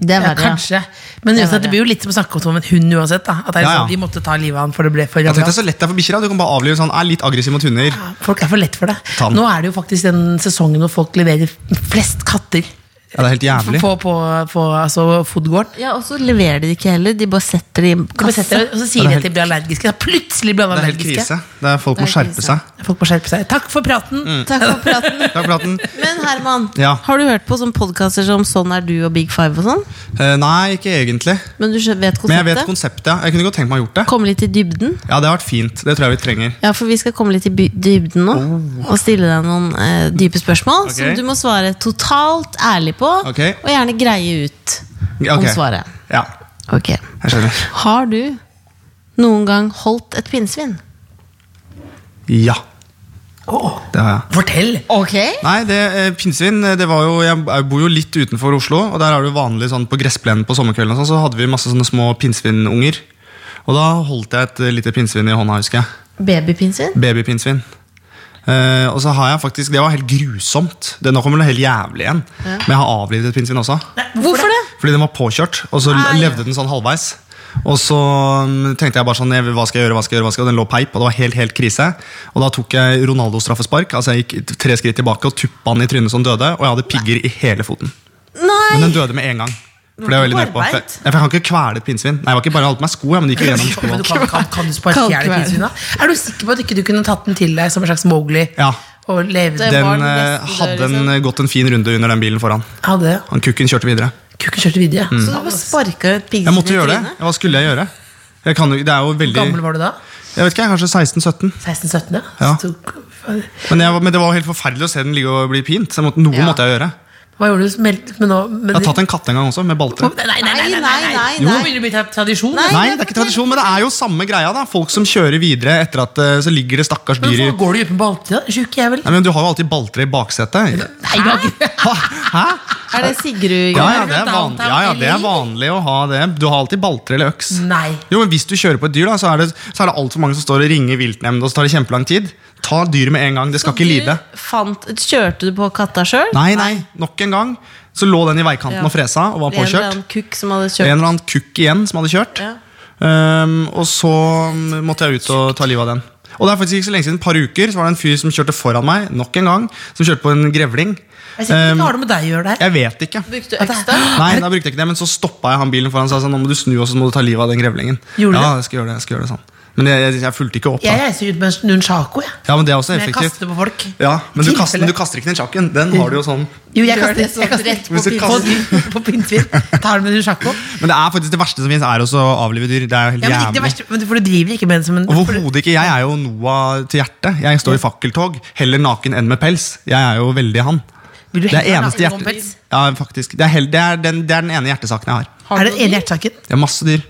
Det er
Ja,
verre. ja.
kanskje. Men
Det er
uansett, det
verre.
blir jo litt som å snakke om en hund uansett. Da. At det er
Ja, ja.
sånn, De måtte ta livet av han for det ble for
Jeg tenkte
rabiat.
så lett det er for bikkjer. da. Du kan bare avlive sånn, er litt aggressiv mot hunder.
Ja, Folk er for lett for det.
Ta den.
Nå er det jo faktisk den sesongen hvor folk leverer flest katter
Ja, det er helt jævlig.
på, på, på altså, fodgården.
Ja, og så leverer de det ikke heller. De bare setter det i en
Kommer
kasse.
setter, og så sier de
Det er
at de blir allergiske. Da plutselig blir
Det
de
er helt
allergiske.
krise. Det er Folk må
Det er
skjerpe
krise.
seg.
Folk må skjerpe seg. Takk for praten.
Mm.
Takk for praten.
Takk for praten.
Men Herman,
Ja.
har du hørt på sånne podkaster som Sånn er du og Big Five og sånn?
Eh, nei, ikke egentlig.
Men du skjø- vet
Men jeg vet
konseptet?
konseptet. ja. Jeg kunne godt tenkt meg å gjort det.
Komme litt i dybden?
Ja, det har vært fint. Det tror jeg vi trenger.
Ja, for vi skal komme litt i by- dybden nå og stille deg noen eh, dype spørsmål
Oh. Ok.
som du må svare totalt ærlig på,
Ok.
og gjerne greie ut om
Ok.
svaret.
Ja,
Ok.
jeg skjønner.
Har du noen gang holdt et pinnsvin?
Ja,
Åh,
det har jeg.
fortell!
Ok.
Nei, det, eh, pinnsvin eh, det var jo, Jeg jeg bor jo litt utenfor Oslo, og der er det jo vanlig sånn på gressplenen på sommerkvelden. og Sånn, så hadde vi masse sånne små pinnsvinunger. Og da holdt jeg et eh, lite pinnsvin i hånda, husker jeg.
Babypinnsvin?
Babypinnsvin. Eh, og så har jeg faktisk, Det var helt grusomt. Det, nå kommer det helt jævlig igjen. Men jeg har avlivet et pinnsvin også.
Hvorfor det?
Fordi den var påkjørt, og så
Nei.
levde den sånn halvveis. Og så mm, tenkte jeg bare sånn, hva skal jeg gjøre, hva skal jeg gjøre, hva skal jeg gjøre? Den lå peip, og det var helt, helt krise. Og da tok jeg Ronaldos straffespark, altså jeg gikk tre skritt tilbake og tuppa han i trynet som døde, og jeg hadde pigger i hele foten. Men
Nei!
den døde med en gang. For det
var
var jeg veldig
ikke
nede på. For,
barbeint.
Nei, for jeg kan ikke kvele et pinnsvin. Nei, jeg var ikke bare jeg holdt meg sko, ja, men det gikk
<laughs>
jo gjennom
Men du
skoene.
kan, kan, kan du sparke i hjel
Kaldkveld.
pinnsvina? Er du sikker på at ikke du kunne tatt den til deg som en slags Mowgli?
Ja.
Og levde
Det- var
Den
den
eh,
beste
hadde
døren,
liksom.
en, eh, gått en fin runde under den bilen foran.
Hadde
Han kukken kjørte videre.
kukken kjørte videre?
Så
Mm.
du bare sparka et pinnsvin
Jeg måtte gjøre det. Ja, Hva skulle jeg gjøre? Jeg kan jo, det er jo
Hvor gammel
veldig
var du da?
Jeg vet ikke, jeg er
16-17?
kanskje 16-17. Ja.
Så tok- fader.
Men, jeg, var- men det var jo helt forferdelig å se den ligge og bli pint. Så jeg måtte, noe
Ja.
måtte jeg gjøre.
Hva gjorde du som meldte men nå men,
Jeg har tatt en katt en gang også, med balte.
Nei, nei, nei, nei, nei,
Nei, nei, nei,
Nå
nei.
begynner det å bli tra- tradisjon.
Nei.
Nei, det er ikke tradisjon, men det er jo samme greia. da Folk som kjører videre etter at eh, så ligger det stakkars
Men
dyr i
hvorfor altså. går du uten balte? Sjuk jævel.
Nei, men Du har jo alltid baltre i baksetet.
Nei, jeg har ikke-
Hæ? Hæ?
Er det Sigrud?
Ja,
Gahr?
ja, det er vanlig, ja, ja, det er vanlig å ha det. Du har alltid baltre eller øks.
Nei.
Jo, men Hvis du kjører på et dyr, da, så er det, så er det altfor mange som står og ringer viltnemnda, og så tar det kjempelang tid. Ta dyret med en gang. Det skal ikke lide.
Du Fant, kjørte du på katta sjøl?
Nei, nei, nok en gang. Så lå den i veikanten og fresa og var
En eller
påkjørt.
annen kukk som hadde
En
kjørt
eller annen kukk igjen som hadde kjørt.
Ja.
Ehm, og så måtte jeg ut og ta livet av den. Og det er faktisk ikke så lenge siden, et par uker, så var det en fyr som kjørte foran meg, nok en gang, som kjørte på en grevling.
Jeg sier ikke
Ehm,
hva har det med deg å gjøre der.
jeg vet ikke.
Brukte øksa?
Nei, da brukte jeg ikke det, men så stoppa jeg han bilen foran seg og sa sånn, nå må du snu, og så må du ta livet av den grevlingen.
Gjorde du
ja,
det?
jeg skal gjøre det, jeg skal gjøre det sånn. Men jeg, jeg, jeg fulgte ikke
<gasps>
opp.
Jeg
da
reiser ut med en nunchako, jeg.
Ja, men det er også
Men jeg
effektivt.
kaster på folk.
Ja, Men du kaster,
Tilfelle.
du kaster ikke nunchaken. Den har du jo sånn.
Jo, jeg
Gjør
kaster,
det sånn
jeg kaster
rett på
rett på,
<laughs>
pinnsvin. på pinnsvin. Tar det med nunchako.
Men det er faktisk det verste som fins, er også å avlive dyr. Det er jo
Ja,
helt
men ikke det
jævlig.
verste, men du- for du driver ikke med det som en
Overhodet ikke. Jeg er jo Noah til hjertet. Jeg står i fakkeltog. Heller naken enn med pels. Jeg er jo veldig han.
Vil du <laughs>
Det er
heller ha
eneste
naken
hjerte...
kompis?
Ja, faktisk. Det er, hel... det, er den, det er den ene hjertesaken jeg har.
Er det den ene hjertesaken?
Jeg har masse dyr.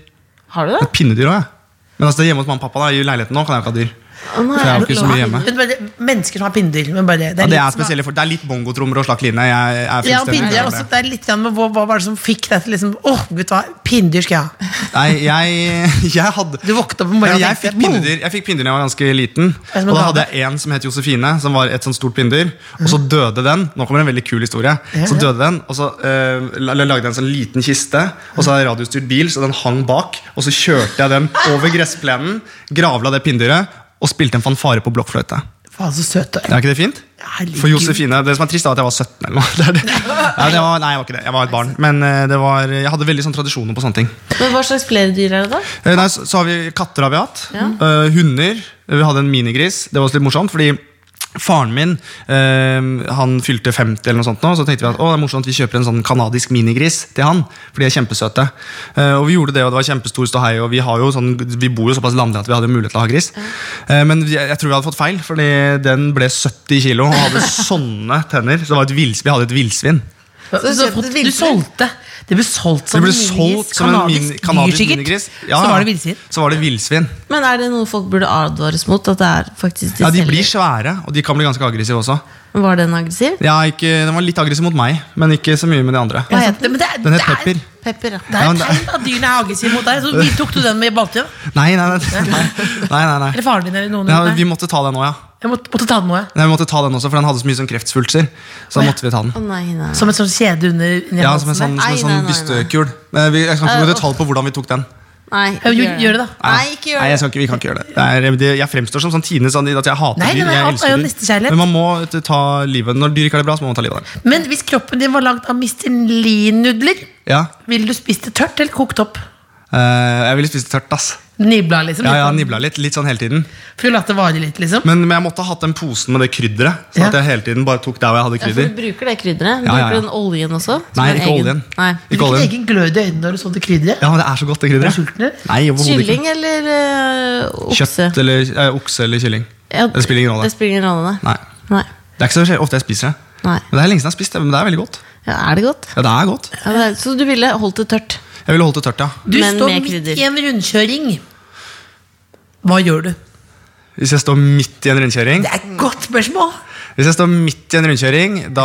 Har du det?
Det er pinnedyr òg, jeg. Men altså, det er hjemme hos mamma og pappa da, i leiligheten nå kan jeg jo ikke ha dyr.
Å, nei.
For jeg har jo ikke så mye hjemme.
Men bare, mennesker som har pinnedyr. Men bare det.
Ja,
litt
det er
som er-
spesielle for Det er litt bongotrommer og slakk line. Jeg er
Ja,
fullstendig
pinnedyr er
klar over
også,
det.
det er litt grann med hva, hva var det som fikk deg til liksom Åh, vet du hva, pinnedyr skal jeg ha.
Nei, jeg, <laughs> jeg hadde
Du våkna opp om
Nei,
morgenen
jeg fikk pinnedyr Jeg fikk pinnedyr da jeg var ganske liten.
er som
Og
en
Da
gave.
hadde jeg en som het Josefine, som var et sånt stort pinnedyr. Og
Mhm.
så døde den. Nå kommer en veldig kul historie. Så døde den, og så eh, la- lagde jeg en sånn liten kiste, og så hadde jeg radiostyrt bil, så den hang bak. Og så kjørte jeg
<laughs>
den over gressplenen, gravla det pinnedyret, og spilte en fanfare på blokkfløyte.
Faen, så søt du er.
Er ikke det fint?
Herregud.
For Josefine, Det som er trist, er at jeg var 17 eller noe. <laughs> Det er det. Ja, det var, nei, jeg var ikke det. Jeg var et barn. Men eh, det var, jeg hadde veldig sånn tradisjoner på sånne ting.
Men Hva slags flere dyr er det, da?
Eh, Nei, så, så har vi Katter har vi hatt. Eh, hunder. Vi hadde en minigris. Det var også litt morsomt, fordi faren min eh, han fylte 50, eller noe sånt nå, så tenkte vi at å, det er morsomt vi kjøper en sånn kanadisk minigris til han. For de er kjempesøte. Eh, og vi gjorde det, og det var kjempestor ståhei. Og vi, har jo sånn, vi bor jo såpass landlig at vi hadde mulighet til å ha gris. Eh, men jeg, jeg tror vi hadde fått feil, fordi den ble 70 kilo og hadde sånne <laughs> tenner. Så det var et vills, vi hadde et villsvin.
Så, så,
Så kjøpte
du
villsvin.
solgte Det ble solgt som
Det ble
en Sånn minigris.
solgt som en min,
dyr,
kanadisk
sikkert.
minigris.
Så var det villsvin.
Så var det villsvin.
Men er det noe folk burde advares mot? At det er faktisk de
Ja, de
selger?
blir svære, og de kan bli ganske aggressive også.
Var den aggressiv?
Ja, ikke, den var litt aggressiv mot meg, men ikke så mye med de andre.
Hva heter det? Men det er,
Den
det
het
er-
Pepper.
Pepper, ja.
Det
Ja,
er
men
et
det-
tegn at dyrene er aggressive mot deg. Så vi tok du den med balte?
Nei, nei, nei. nei, nei, nei, nei.
Eller faren din eller noen?
Ja,
rundt deg?
vi måtte ta den òg, ja.
Jeg måtte, måtte ta den nå, jeg.
Nei, vi måtte ta den også, For den hadde så mye sånn kreftsvulster. Så da måtte vi ta den.
Å nei, nei.
Som en sånn kjede under under
Ja, Som
halsen der.
en sånn, som en
Nei,
sånn
nei, nei, nei.
bystekul. Men vi- Jeg kan ikke gå i detalj på hvordan vi tok den.
nei
Ja, jo, gjør det, da.
Nei, ikke gjør
Nei, jeg
det.
skal ikke, Vi kan ikke gjøre det. det, er, det jeg fremstår som sånn Tine, sånn at jeg hater
Nei,
dyr.
nei,
Jeg
alt er jo
elsker
nestekjærlighet.
dyr. Men man må vet du, ta livet Når dyr ikke har det bra, så må man ta livet av dem.
Men hvis kroppen din var lagd av mistelinnudler,
Ja,
ville du spist det tørt eller kokt opp?
eh, Jeg ville spist det tørt, ass.
Nibla, liksom?
Ja, ja, Nibla litt. Litt sånn hele tiden.
For å la det vare litt, liksom?
Men, men jeg måtte ha hatt den posen med det krydderet. Sånn at
Ja.
jeg hele tiden bare tok der hvor jeg hadde
Ja, for du
krydder.
bruker det krydderet.
Ja, ja, ja.
Bruker du den oljen også? Som
Nei,
er
ikke
egen-
oljen.
Nei.
Ikke
Fikk en
oljen.
egen glød i øynene når du så det krydderet?
Ja, men det er så godt, det
Er du sulten, eller?
krydderet. Nei, overhodet ikke.
Kylling eller øh, okse?
Kjøtt eller eh, okse eller kylling.
Ja,
det spiller ingen rolle.
Det spiller ingen rolle, nei.
Nei.
Nei.
Det er ikke så ofte jeg spiser det.
Nei.
Men Det er lenge siden jeg har spist det, men det er veldig godt.
Ja, er det godt?
Ja, det er godt.
Ja, det er, så du ville holdt det tørt?
Jeg ville holdt det tørt, ja.
Du
Men
står
med
midt
krydder.
i en rundkjøring. Hva gjør du?
Hvis jeg står midt i en rundkjøring,
Det er et godt spørsmål!
Hvis jeg står midt i en rundkjøring, da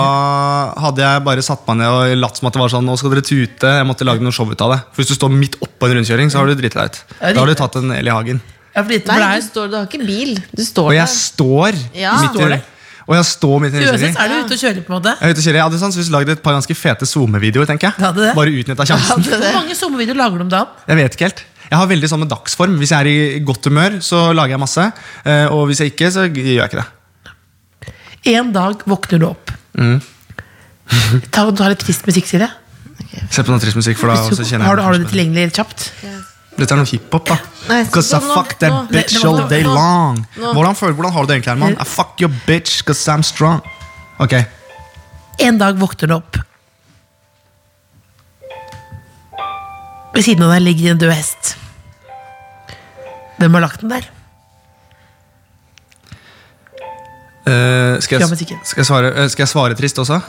hadde jeg bare satt meg ned og latt som at det var sånn, nå skal dere tute, jeg måtte lage noe show ut av det. For hvis du står midt oppå en rundkjøring, så har du driti deg ut.
Ja,
Da har du
driti deg
tatt en el i hagen.
Ja, for det- for
Nei, du,
det
står, du har ikke bil. Du står
Og
der.
jeg står
Ja.
midt i
Står det?
Og jeg står midt i
er-
en
Uansett
rundkjøring.
så er du ute og kjører, på en måte.
Jeg er ute og kjører. Jeg hadde sannsynligvis lagd et par ganske fete SoMe-videoer. tenker
Du hadde det?
jeg Bare utnytta sjansen.
Hvor mange sommervideoer lager du om dagen?
Jeg vet ikke helt. Jeg har veldig sånn med dagsform. Hvis jeg er i godt humør, så lager jeg masse. eh, Og hvis jeg ikke, så gjør jeg ikke det.
En dag våkner du opp. <laughs> Ta, du har litt trist musikk, Silje.
Se på noe trist musikk, for da så kjenner jeg
Har, du- har du det tilgjengelig litt kjapt?
Dette er noe hiphop, da.
Nei,
Cause I
så nå-
fuck that
nå-
bitch
det- det-
all day
nå-
long.
nå-
Hvordan, føler, hvordan har du det egentlig, Herman? I fuck your bitch, cause I'm strong. Ok, Eh,
En dag våkner du opp. Ved siden av deg ligger en død hest. Hvem har lagt den der?
Eh, skal,
Ja, men
jeg,
sikkert.
skal, jeg svare, eh, skal jeg svare trist også?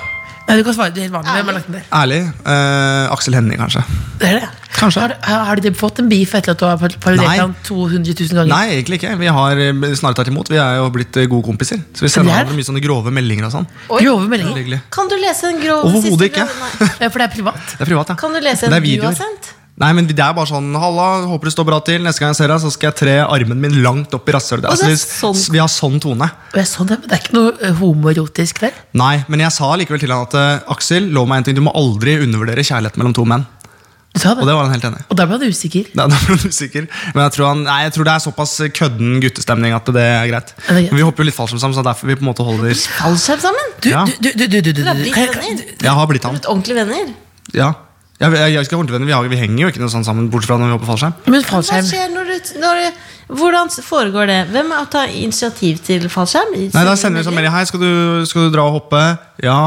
Nei, du kan svare det helt vanlig. Hvem har lagt den der?
Ærlig. eh, Aksel Hennie, kanskje.
Det er det.
Kanskje.
Har, har, har du fått en beef etter at du har par-
Nei.
parodiert ham 200 000 ganger?
Nei, egentlig ikke. Vi har eh, snarere tatt imot. Vi er jo blitt eh, gode kompiser. Så vi sender
Det er-
hverandre mye sånne grove meldinger og sånn.
Oi.
Grove meldinger.
Hyggelig.
Kan du lese en grov
Overhodet
siste
ikke.
grov- Nei.
Ja, for det er privat.
Det er privat, ja.
Kan du lese
Det
en
er
du har
videoer.
sendt?
Nei, men det er bare sånn Halla, håper du står bra til. Neste gang jeg ser deg, så skal jeg tre armen min langt opp i rasshølet.
Og det
Altså,
er
vi,
sånn-
vi har sånn tone.
Og jeg så det, men det er ikke noe eh, homoerotisk der.
Nei, men jeg sa likevel til han at eh, Aksel, lov meg en ting. Du må aldri undervurdere kjærlighet mellom to menn.
Du sa
Og
det.
det var han helt enig i.
Og da ble han usikker.
<laughs> Nei, da ble han usikker. Men jeg tror, han, nei, jeg tror det er såpass kødden guttestemning at det er greit.
Ja, det er greit.
Men vi hopper jo litt fallskjerm sammen, så derfor vi på en måte holder
Fallskjerm sammen?
Du,
Ja.
du, du, du, du, du, du,
Dere har
du.
blitt
Kan jeg-
venner?
Jeg har blitt han.
Blitt ordentlige venner?
Ja. Jeg, jeg, jeg skal ordentlig venner. Vi, har, vi henger jo ikke noe sånn sammen, bortsett fra når vi hopper fallskjerm.
Men
Hva
fallskjerm
skjer når du, når du Hvordan foregår det? Hvem er- tar initiativ til fallskjerm?
Nei, da sender vi sånn melding. Hei, skal du, skal du dra og hoppe? Ja.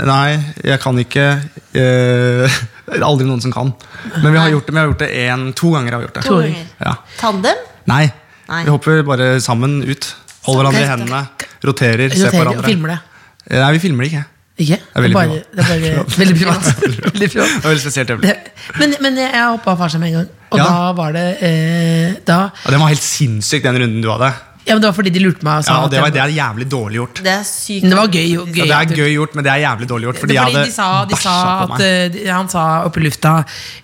Nei, jeg kan ikke. Eh, <laughs> det er aldri noen som kan. Men vi har gjort det, vi har gjort det en, to ganger. har vi gjort det.
To ganger.
Ja.
Tandem?
Nei.
Nei.
Vi hopper bare sammen ut. Holder hverandre i
Ok.
hendene, roterer, ser på
roterer og
hverandre. Eh,
filmer det.
Nei, vi filmer det ikke.
Ikke? Det er
<laughs> veldig
bare, det er bare veldig privat. veldig
Det
privat.
var <laughs> veldig spesielt øyeblikk.
Det- Men, men jeg hoppa av fallskjerm en gang, og
Ja.
da var det eh, da,
Ja, den var helt sinnssyk, den runden du hadde.
Ja, men det var fordi de lurte meg og sa
Ja, og det,
Sånn at
var,
jeg-
det er jævlig dårlig gjort.
Det er sykt.
Men det var gøy. jo,
Ja,
gøy
det
at du-
er gøy gjort, men det er jævlig dårlig gjort.
Fordi,
Fordi jeg hadde
de sa, de sa
bæsja på
at
meg.
eh, de- Han sa oppe i lufta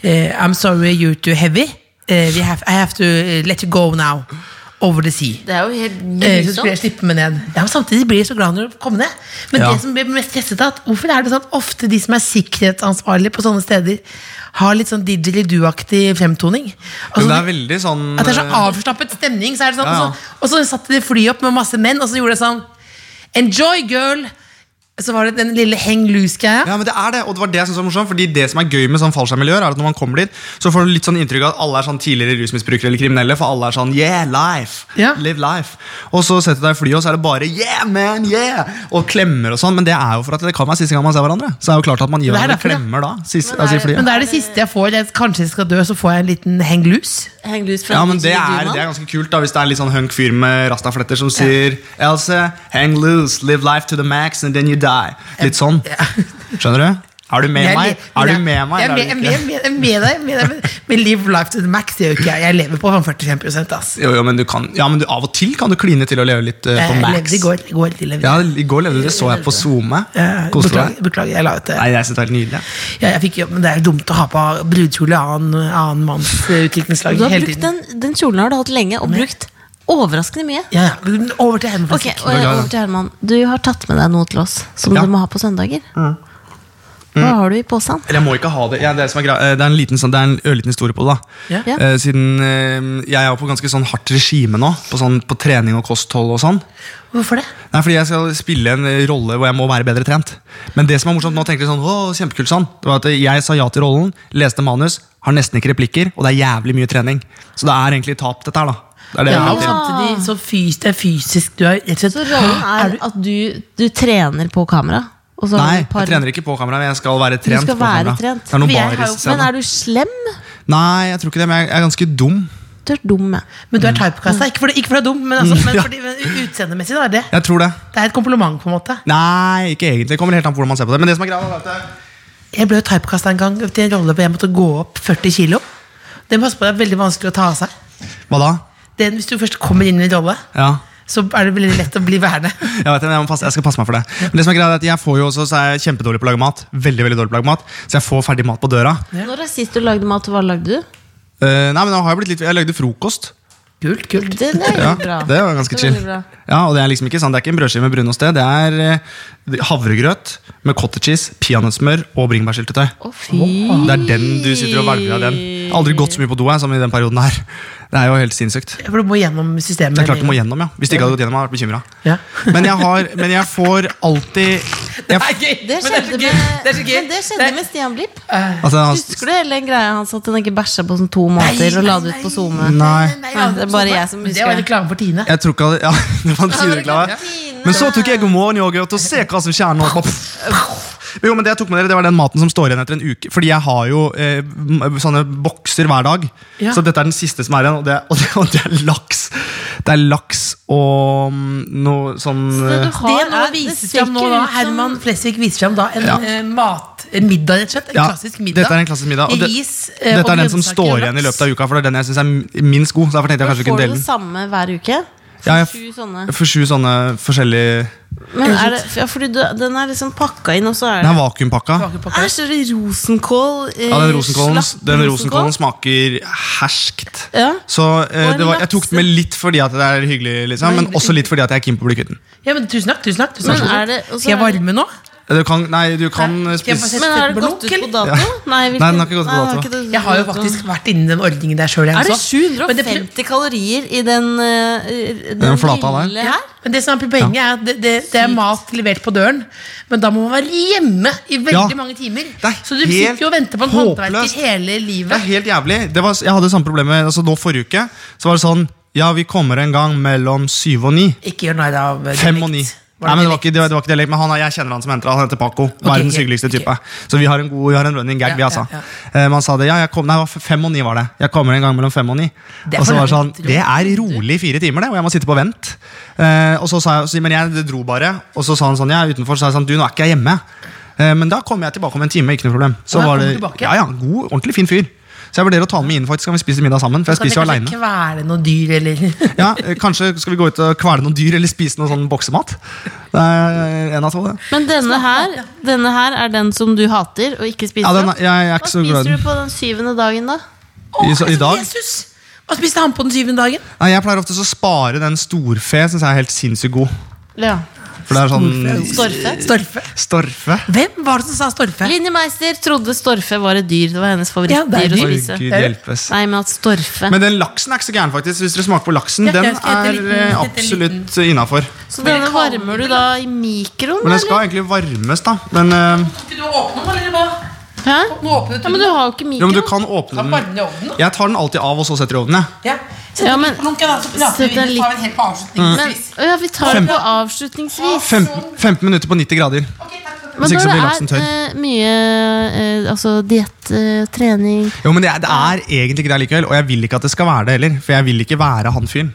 eh, I'm sorry you're too heavy Eh, we have, I have to eh, let you go now Over the sea
Det er jo helt
Eh, Så skulle
grusomt.
jeg slippe meg ned ja, men Samtidig blir jeg så glad når du kommer ned Men
Ja.
det som blir mest stresset er at Hvorfor er det sånn at ofte de som er sikkerhetsansvarlige På sånne steder Har litt sånn didgeridoo-aktig fremtoning Altså,
Men det er veldig sånn
at det er så avslappet stemning. Så er det sånn,
Ja, ja.
Og, så, og så satte de fly opp med masse menn, og så gjorde det sånn Enjoy, girl! Så var det den lille hang loose-greia.
Ja, men det er det, og det var det jeg synes var morsomt Fordi det som er gøy med sånn fallskjermmiljøer, er at når man kommer dit, så får du litt sånn inntrykk av at alle er sånn tidligere rusmisbrukere eller kriminelle, for alle er sånn yeah, life,
Ja.
live life. Og så setter du deg i flyet, og så er det bare yeah, man, yeah! Og klemmer og sånn, men det er jo for at det kan være siste gang man ser hverandre. Så er det jo klart at man gir
Det er
hverandre
derfor, ja.
klemmer da. Sist,
Men er
altså i
det-
flyet.
Men det er det siste jeg får. Jeg, kanskje jeg skal dø, så får jeg en liten hang loose.
Hang loose fra
Ja, men
DJ
det er,
Duman.
det er ganske kult da Hvis det er en litt sånn hunk fyr med rastafletter som sier Else, hang loose, live life to the max And then you die Litt sånn,
<laughs>
skjønner du? Er du med
Jeg
meg?
le-
Er
jeg-
du med meg?
Jeg er
eller er
med,
du
jeg
ikke?
er med, jeg er med deg. Med
<laughs>
deg men, men live life to the max det gjør ikke jeg. Jeg lever på sånn 45 ass.
Jo, jo, men du kan Ja, men du, av og til kan du kline til å leve litt eh, på
Jeg
max
levde i går. i går jeg levde.
Ja, i går levde du, det så jeg på Zoome
Eh,
Koste deg
beklager, beklager, jeg la ut det.
Nei, jeg synes det er helt nydelig ja.
Ja, jeg fikk jobb, men det er jo dumt å ha på brudekjole av annen, annen manns eh, utviklingslag
Du har
hele
brukt
tiden.
den, den kjolen har du hatt lenge, og brukt overraskende mye.
Ja, ja. Over til Herman.
Ok,
Flesvig.
og jeg, over til Herman. Du har tatt med deg noe til oss som
Ja.
du
Mm.
må ha på søndager. Hva har du i posen?
Eller jeg må ikke ha det ja, det, som er grei, eh, det er en liten sånn Det er en ørliten historie på det da
Ja.
Ja.
Eh, Siden eh, jeg er jo på ganske sånn hardt regime nå På, sånn, på trening og kosthold og sånn
Hvorfor det?
Nei, fordi jeg skal spille en eh, rolle hvor jeg må være bedre trent. Men det som er morsomt nå, tenker jeg sånn, Åh, kjempekult sånn, det var at jeg sa ja til rollen, leste manus, har nesten ikke replikker, og det er jævlig mye trening. Så det er egentlig tap, dette her, da. Det er det
Ja,
jeg
og
altså,
vil til.
samtidig så fys, det er fysisk Du er rett og slett
Så rollen
Er
er
du-
at du, du trener på kamera? og så har du
Nei,
et par-
jeg trener ikke på kamera, men jeg skal være
Du
trent.
skal
på
være
kamera.
trent.
Det er noen
For jeg har jo- men
barisscener.
er du slem?
Nei, jeg tror ikke det, men jeg er ganske dum.
Du er dum. jeg.
Men du er typecasta. Ikke fordi ikke for det er dum, men,
<laughs>
altså, men, fordi, men u- utseendemessig da er det
Jeg tror det.
Det er et kompliment, på en måte.
Nei, ikke egentlig. Det kommer helt an på hvordan man ser på det. Men det som er greia, er at det-
Jeg ble jo typecasta en gang til en rolle hvor jeg måtte gå opp 40 kilo. Det må jeg passe på, det er veldig vanskelig å ta av seg.
Hva da?
Den, hvis du først kommer inn i en rolle,
Ja.
så er det veldig lett å bli
<laughs>
værende.
Jeg vet det, men jeg, må passe, jeg skal passe meg for det. Men det som er greia er at jeg får jo også, så er jeg kjempedårlig på å lage mat. Veldig, veldig dårlig på å lage mat. Så jeg får ferdig mat på døra.
Når er sist du lagde mat? Hva lagde du?
Eh, nei, men nå har jeg blitt litt Jeg lagde frokost.
Kult, kult.
Det, det er
Ja,
jo bra.
det var ganske
Det er
chill.
veldig bra.
Ja, og Det er liksom ikke sånn, det er ikke en brødskive med brunost. Det det er eh, havregrøt med cottage cheese, peanøttsmør og bringebærsyltetøy.
Å, fy.
Det er den du sitter og hvelver av den. Jeg har Aldri gått så mye på do jeg, som i den perioden her. Det er jo helt sinnssykt.
For du må gjennom systemet.
Det er klart du må gjennom, ja. Hvis du ikke hadde gått gjennom, hadde jeg vært bekymret.
Ja.
Men jeg har, men jeg får alltid jeg,
Det er gøy!
Det skjedde
men så
med,
gøy. Det er så gøy.
men det skjedde med Stian Blipp.
altså,
Husker du hele den greia hans at han ikke bæsja på sånn to måneder og la det ut på SoMe?
Nei.
Nei,
Nei, det er bare jeg som
Men Det
husker
var
det.
reklame for Tine.
Jeg tror ikke <laughs> hadde, ja, det var en sidereklame.
Tine.
Men så tok jeg God morgen yoghurt og se hva som skjer nå. Pff, Jo, men det jeg tok med dere, det var den maten som står igjen etter en uke. Fordi jeg har jo eh, m- sånne bokser hver dag.
Ja.
Så dette er den siste som er igjen, og det, og det, og det er laks. Det er laks og mm, noe sånn eh,
Det nå vises fram nå, da. Herman Flesvig viser fram da en
Ja.
eh, mat, en middag, rett og slett. En
ja,
klassisk middag.
Dette er en klassisk middag. Og det,
Ris, eh,
dette
og
er den
grønnsaker
som
og
står igjen i
laks.
løpet av uka, for det er den jeg syns er m- minst god. Så derfor tenkte jeg kanskje vi
Får
kunne
du
dele
det
den.
samme hver uke?
Ja, jeg-
Sju sånne.
For sju sånne forskjellige
Men er det, ja, fordi du, den er liksom pakka inn, og så er det
Den er vakuumpakka.
Bakepakka.
Her står det rosenkål. eh,
Ja, den rosenkålen,
slapp
den
rosenkål.
rosenkålen smaker herskt.
Ja.
Så eh,
Og en
det var, jeg tok den med litt fordi at det er hyggelig, liksom, men også litt fordi at jeg er keen på å bli kvitt den.
Ja, men tusen takk. tusen takk, tusen
Men
takk.
er det- og så
Skal jeg
er det-
varme nå?
Du kan, nei, du kan
Nei, skal jeg få se?
spise
Men har det gått ut på dato?
Ja.
Nei,
Nei, den har ikke gått på
Nei, den
dato.
ikke det-
Jeg har jo faktisk vært inni den ordningen der sjøl.
Er det
Men det,
750 kalorier i den, eh, den,
flata der?
lille
ja,
her?
men det som er poenget, er at det, det, det er mat levert på døren. Men da må man være hjemme i veldig
Ja.
mange timer.
er
Så du
helt
sitter jo og venter på en håndverker
håpløst.
hele
Det er
livet.
helt jævlig. Det var, jeg hadde samme problem med, altså nå forrige uke. Så var det sånn Ja, vi kommer en gang mellom syv og ni.
Ikke gjør narr av eh,
Fem og ni.
dialekt.
Nei, men det var
dialekt?
ikke, det var, det var ikke dialekt, men han, er- jeg kjenner han som henter han. Han heter Paco. Verdens
ok,
hyggeligste
ok.
type. Så vi har en god, vi har en running gag,
Ja,
vi, altså.
ja,
Eh, Man sa det, ja, jeg kom, nei, det var fem og ni var det. Jeg kommer en gang mellom fem og ni.
Det er
Og så
for
var det sånn,
langt,
det er rolig fire timer, det, og jeg må sitte på vent. Eh, Og så sa jeg, så- men jeg det dro bare, og så sa han sånn, jeg er utenfor, så sa jeg sånn, du, nå er ikke jeg hjemme. Eh, Men da kommer jeg tilbake om en time, ikke noe problem. Så
Og da
var
kom
det,
du tilbake?
ja, ja, god, ordentlig fin fyr. Så jeg vurderer å ta han med inn, faktisk, kan vi spise middag sammen, for jeg
Kan
spiser jo
jeg
alene.
kanskje kvele noen dyr, eller
Ja, eh, kanskje skal vi gå ut og kvele noen dyr eller spise noe sånn boksemat? Det er en av to, det.
Men denne her, denne her er den som du hater og ikke spiser
Ja, den,
opp?
er- jeg er
Hva
ikke så
spiser
glad i
du
den.
på den syvende dagen, da?
<laughs> I, så, I dag?
altså, Jesus! Hva spiste han på den syvende dagen?
Nei, jeg pleier ofte å spare den storfe, syns jeg er helt sinnssykt god.
Ja.
For det er sånn
Storfe?
Storfe.
Storfe.
Hvem var det som sa storfe?
Linni Meister trodde storfe var et dyr. Det var hennes
Ja, det er
favorittdyr å
dyr.
Oi,
spise.
Gud hjelpes.
Nei, men at storfe
Men den laksen er ikke så gæren, faktisk. Hvis dere smaker på laksen,
Ja,
den
jeg skal hete
er
liten-
eh,
hete
absolutt innafor.
Så denne varmer du da i mikroen?
Men den
eller?
skal egentlig varmes, da. Men, eh,
Skulle du åpne den, eller hva?
Hæ?
Nå åpnet
Ja, men du har jo ikke
jo,
mikro.
men du kan åpne
Kan varme den i
den.
ovnen, da?
Jeg tar den alltid av, og så setter jeg i ovnen. jeg.
Ja. Sett
Ja,
den
men-
litt på lunken, da, så prater
sett
vi.
den
Vi
litt-
tar den helt på
Men,
avslutningsvis.
å ja, vi tar det
Fem.
på avslutningsvis.
Fem- 15 minutter på 90 grader.
Ok, takk for-
Men
Hvis ikke så
når
blir laksen
det
tørr.
er eh, mye eh, altså diett, eh, trening
Jo, men det er, det er egentlig ikke det likevel, og jeg vil ikke at det skal være det heller. For jeg vil ikke være han fyren.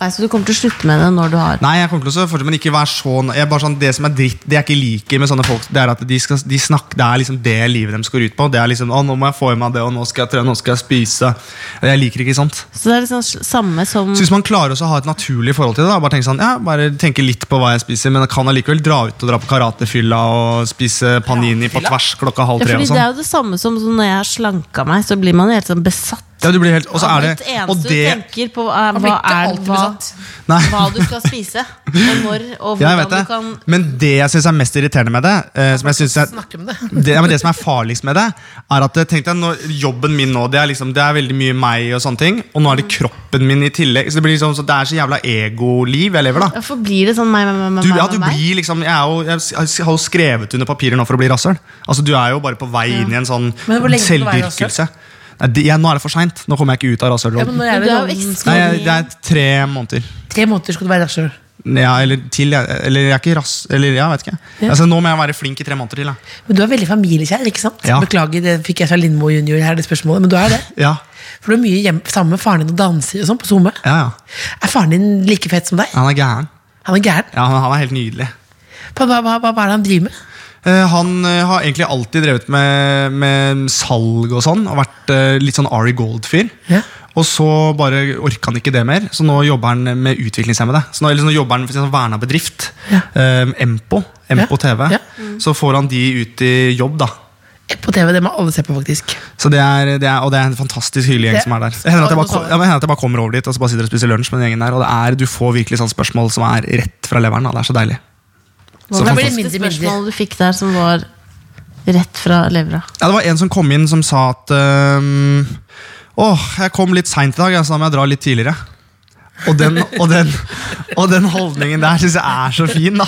Nei, Så du kommer til å slutte med det når du har
Nei, jeg kommer til å fortsette, men ikke vær så jeg er bare sånn, Det som er dritt, det jeg ikke liker med sånne folk, det er at de skal, de snakker, det er liksom det livet deres går ut på. Det er liksom 'Å, nå må jeg få i meg det, og nå skal jeg trene, nå skal jeg spise'. Jeg liker ikke sånt.
Så det er liksom s- samme som
Så hvis man klarer også å ha et naturlig forhold til det, da, bare tenke sånn, ja, bare tenke litt på hva jeg spiser, men jeg kan allikevel dra ut og dra på karatefylla og spise panini på tvers klokka halv
ja, fordi
tre og
Det er
sånn.
jo det samme som som når jeg har slanka meg, så blir man helt sånn besatt.
Ja, du blir helt, og så
av
er
et
det,
eneste
og
du
det
tenker på, er,
Han blir
hva,
ikke
er,
alltid
hva,
besatt.
Nei.
hva du skal spise, og når, og
Ja, jeg
hvordan
vet
du
det.
kan
Men det jeg syns er mest irriterende med det, eh, som jeg synes er,
Snakke om det.
det, ja, men det som er farligst med det, er at eh, tenk deg, nå, jobben min nå, det er, liksom, det er veldig mye meg og sånne ting, og nå er det
Mm.
kroppen min i tillegg. Så det, blir liksom, så det er så jævla egoliv jeg lever, da.
Hvorfor blir det sånn meg, meg, meg, meg,
Du, ja,
meg,
du
meg?
blir liksom, jeg, er jo, jeg s- jeg har jo skrevet under papirer nå for å bli rasshøl. Altså, du er jo bare på vei inn i en sånn
Men hvor lenge skal du være
selvdyrkelse. Nei, det, ja, nå er det for seint. Nå kommer jeg ikke ut av
Ja, men
rasshølrollen.
nå er det
Du er jo
noen-
ekstra-
Nei, jeg- Det er tre måneder.
Tre måneder skal du være rasshøl.
Ja, eller til. jeg- Eller jeg er ikke rass... Eller jeg vet ikke. Altså, nå må jeg være flink i tre måneder til. Jeg.
Men du er veldig familiekjær, ikke sant?
Ja.
Beklager, det fikk jeg fra Lindmo junior her, det spørsmålet, men du er det.
Ja,
For du er mye hjem, sammen med faren din og danser og sånn på SoMe.
ja, ja.
Er faren din like fet som deg?
Han er gæren.
Han er gæren.
Ja, han, han er helt nydelig.
Hva, hva, hva, hva er det han driver med?
Eh, han eh, har egentlig alltid drevet med, med salg og sånn, og vært eh, litt sånn Ari Gold-fyr.
Ja.
Og så bare orka han ikke det mer, så nå jobber han med utviklingshemmede. Så nå, eller så nå jobber han for en sånn verna bedrift.
Ja.
Eh, Empo. Empo
Ja,
TV.
ja.
Så får han de ut i jobb, da.
På TV, det må alle se på, faktisk.
Så det er, det er, og det er en fantastisk hyggelig gjeng
Det-
som er der. Det hender at jeg bare,
Alle
ko-
sammen.
ja, men det hender at jeg bare kommer over dit og så bare sitter og spiser lunsj med den gjengen der. Og det er, du får virkelig sånn spørsmål som er rett fra leveren. Da. Det er så deilig.
Hva
Så
var
blir
det
det mindre
siste
bilder.
spørsmålet du fikk der som var rett fra levra?
Ja, det var en som kom inn som sa at øhm, Åh, jeg kom litt seint i dag, ja, så da må jeg dra litt tidligere. Og den, og den, og den holdningen der syns jeg er så fin, da.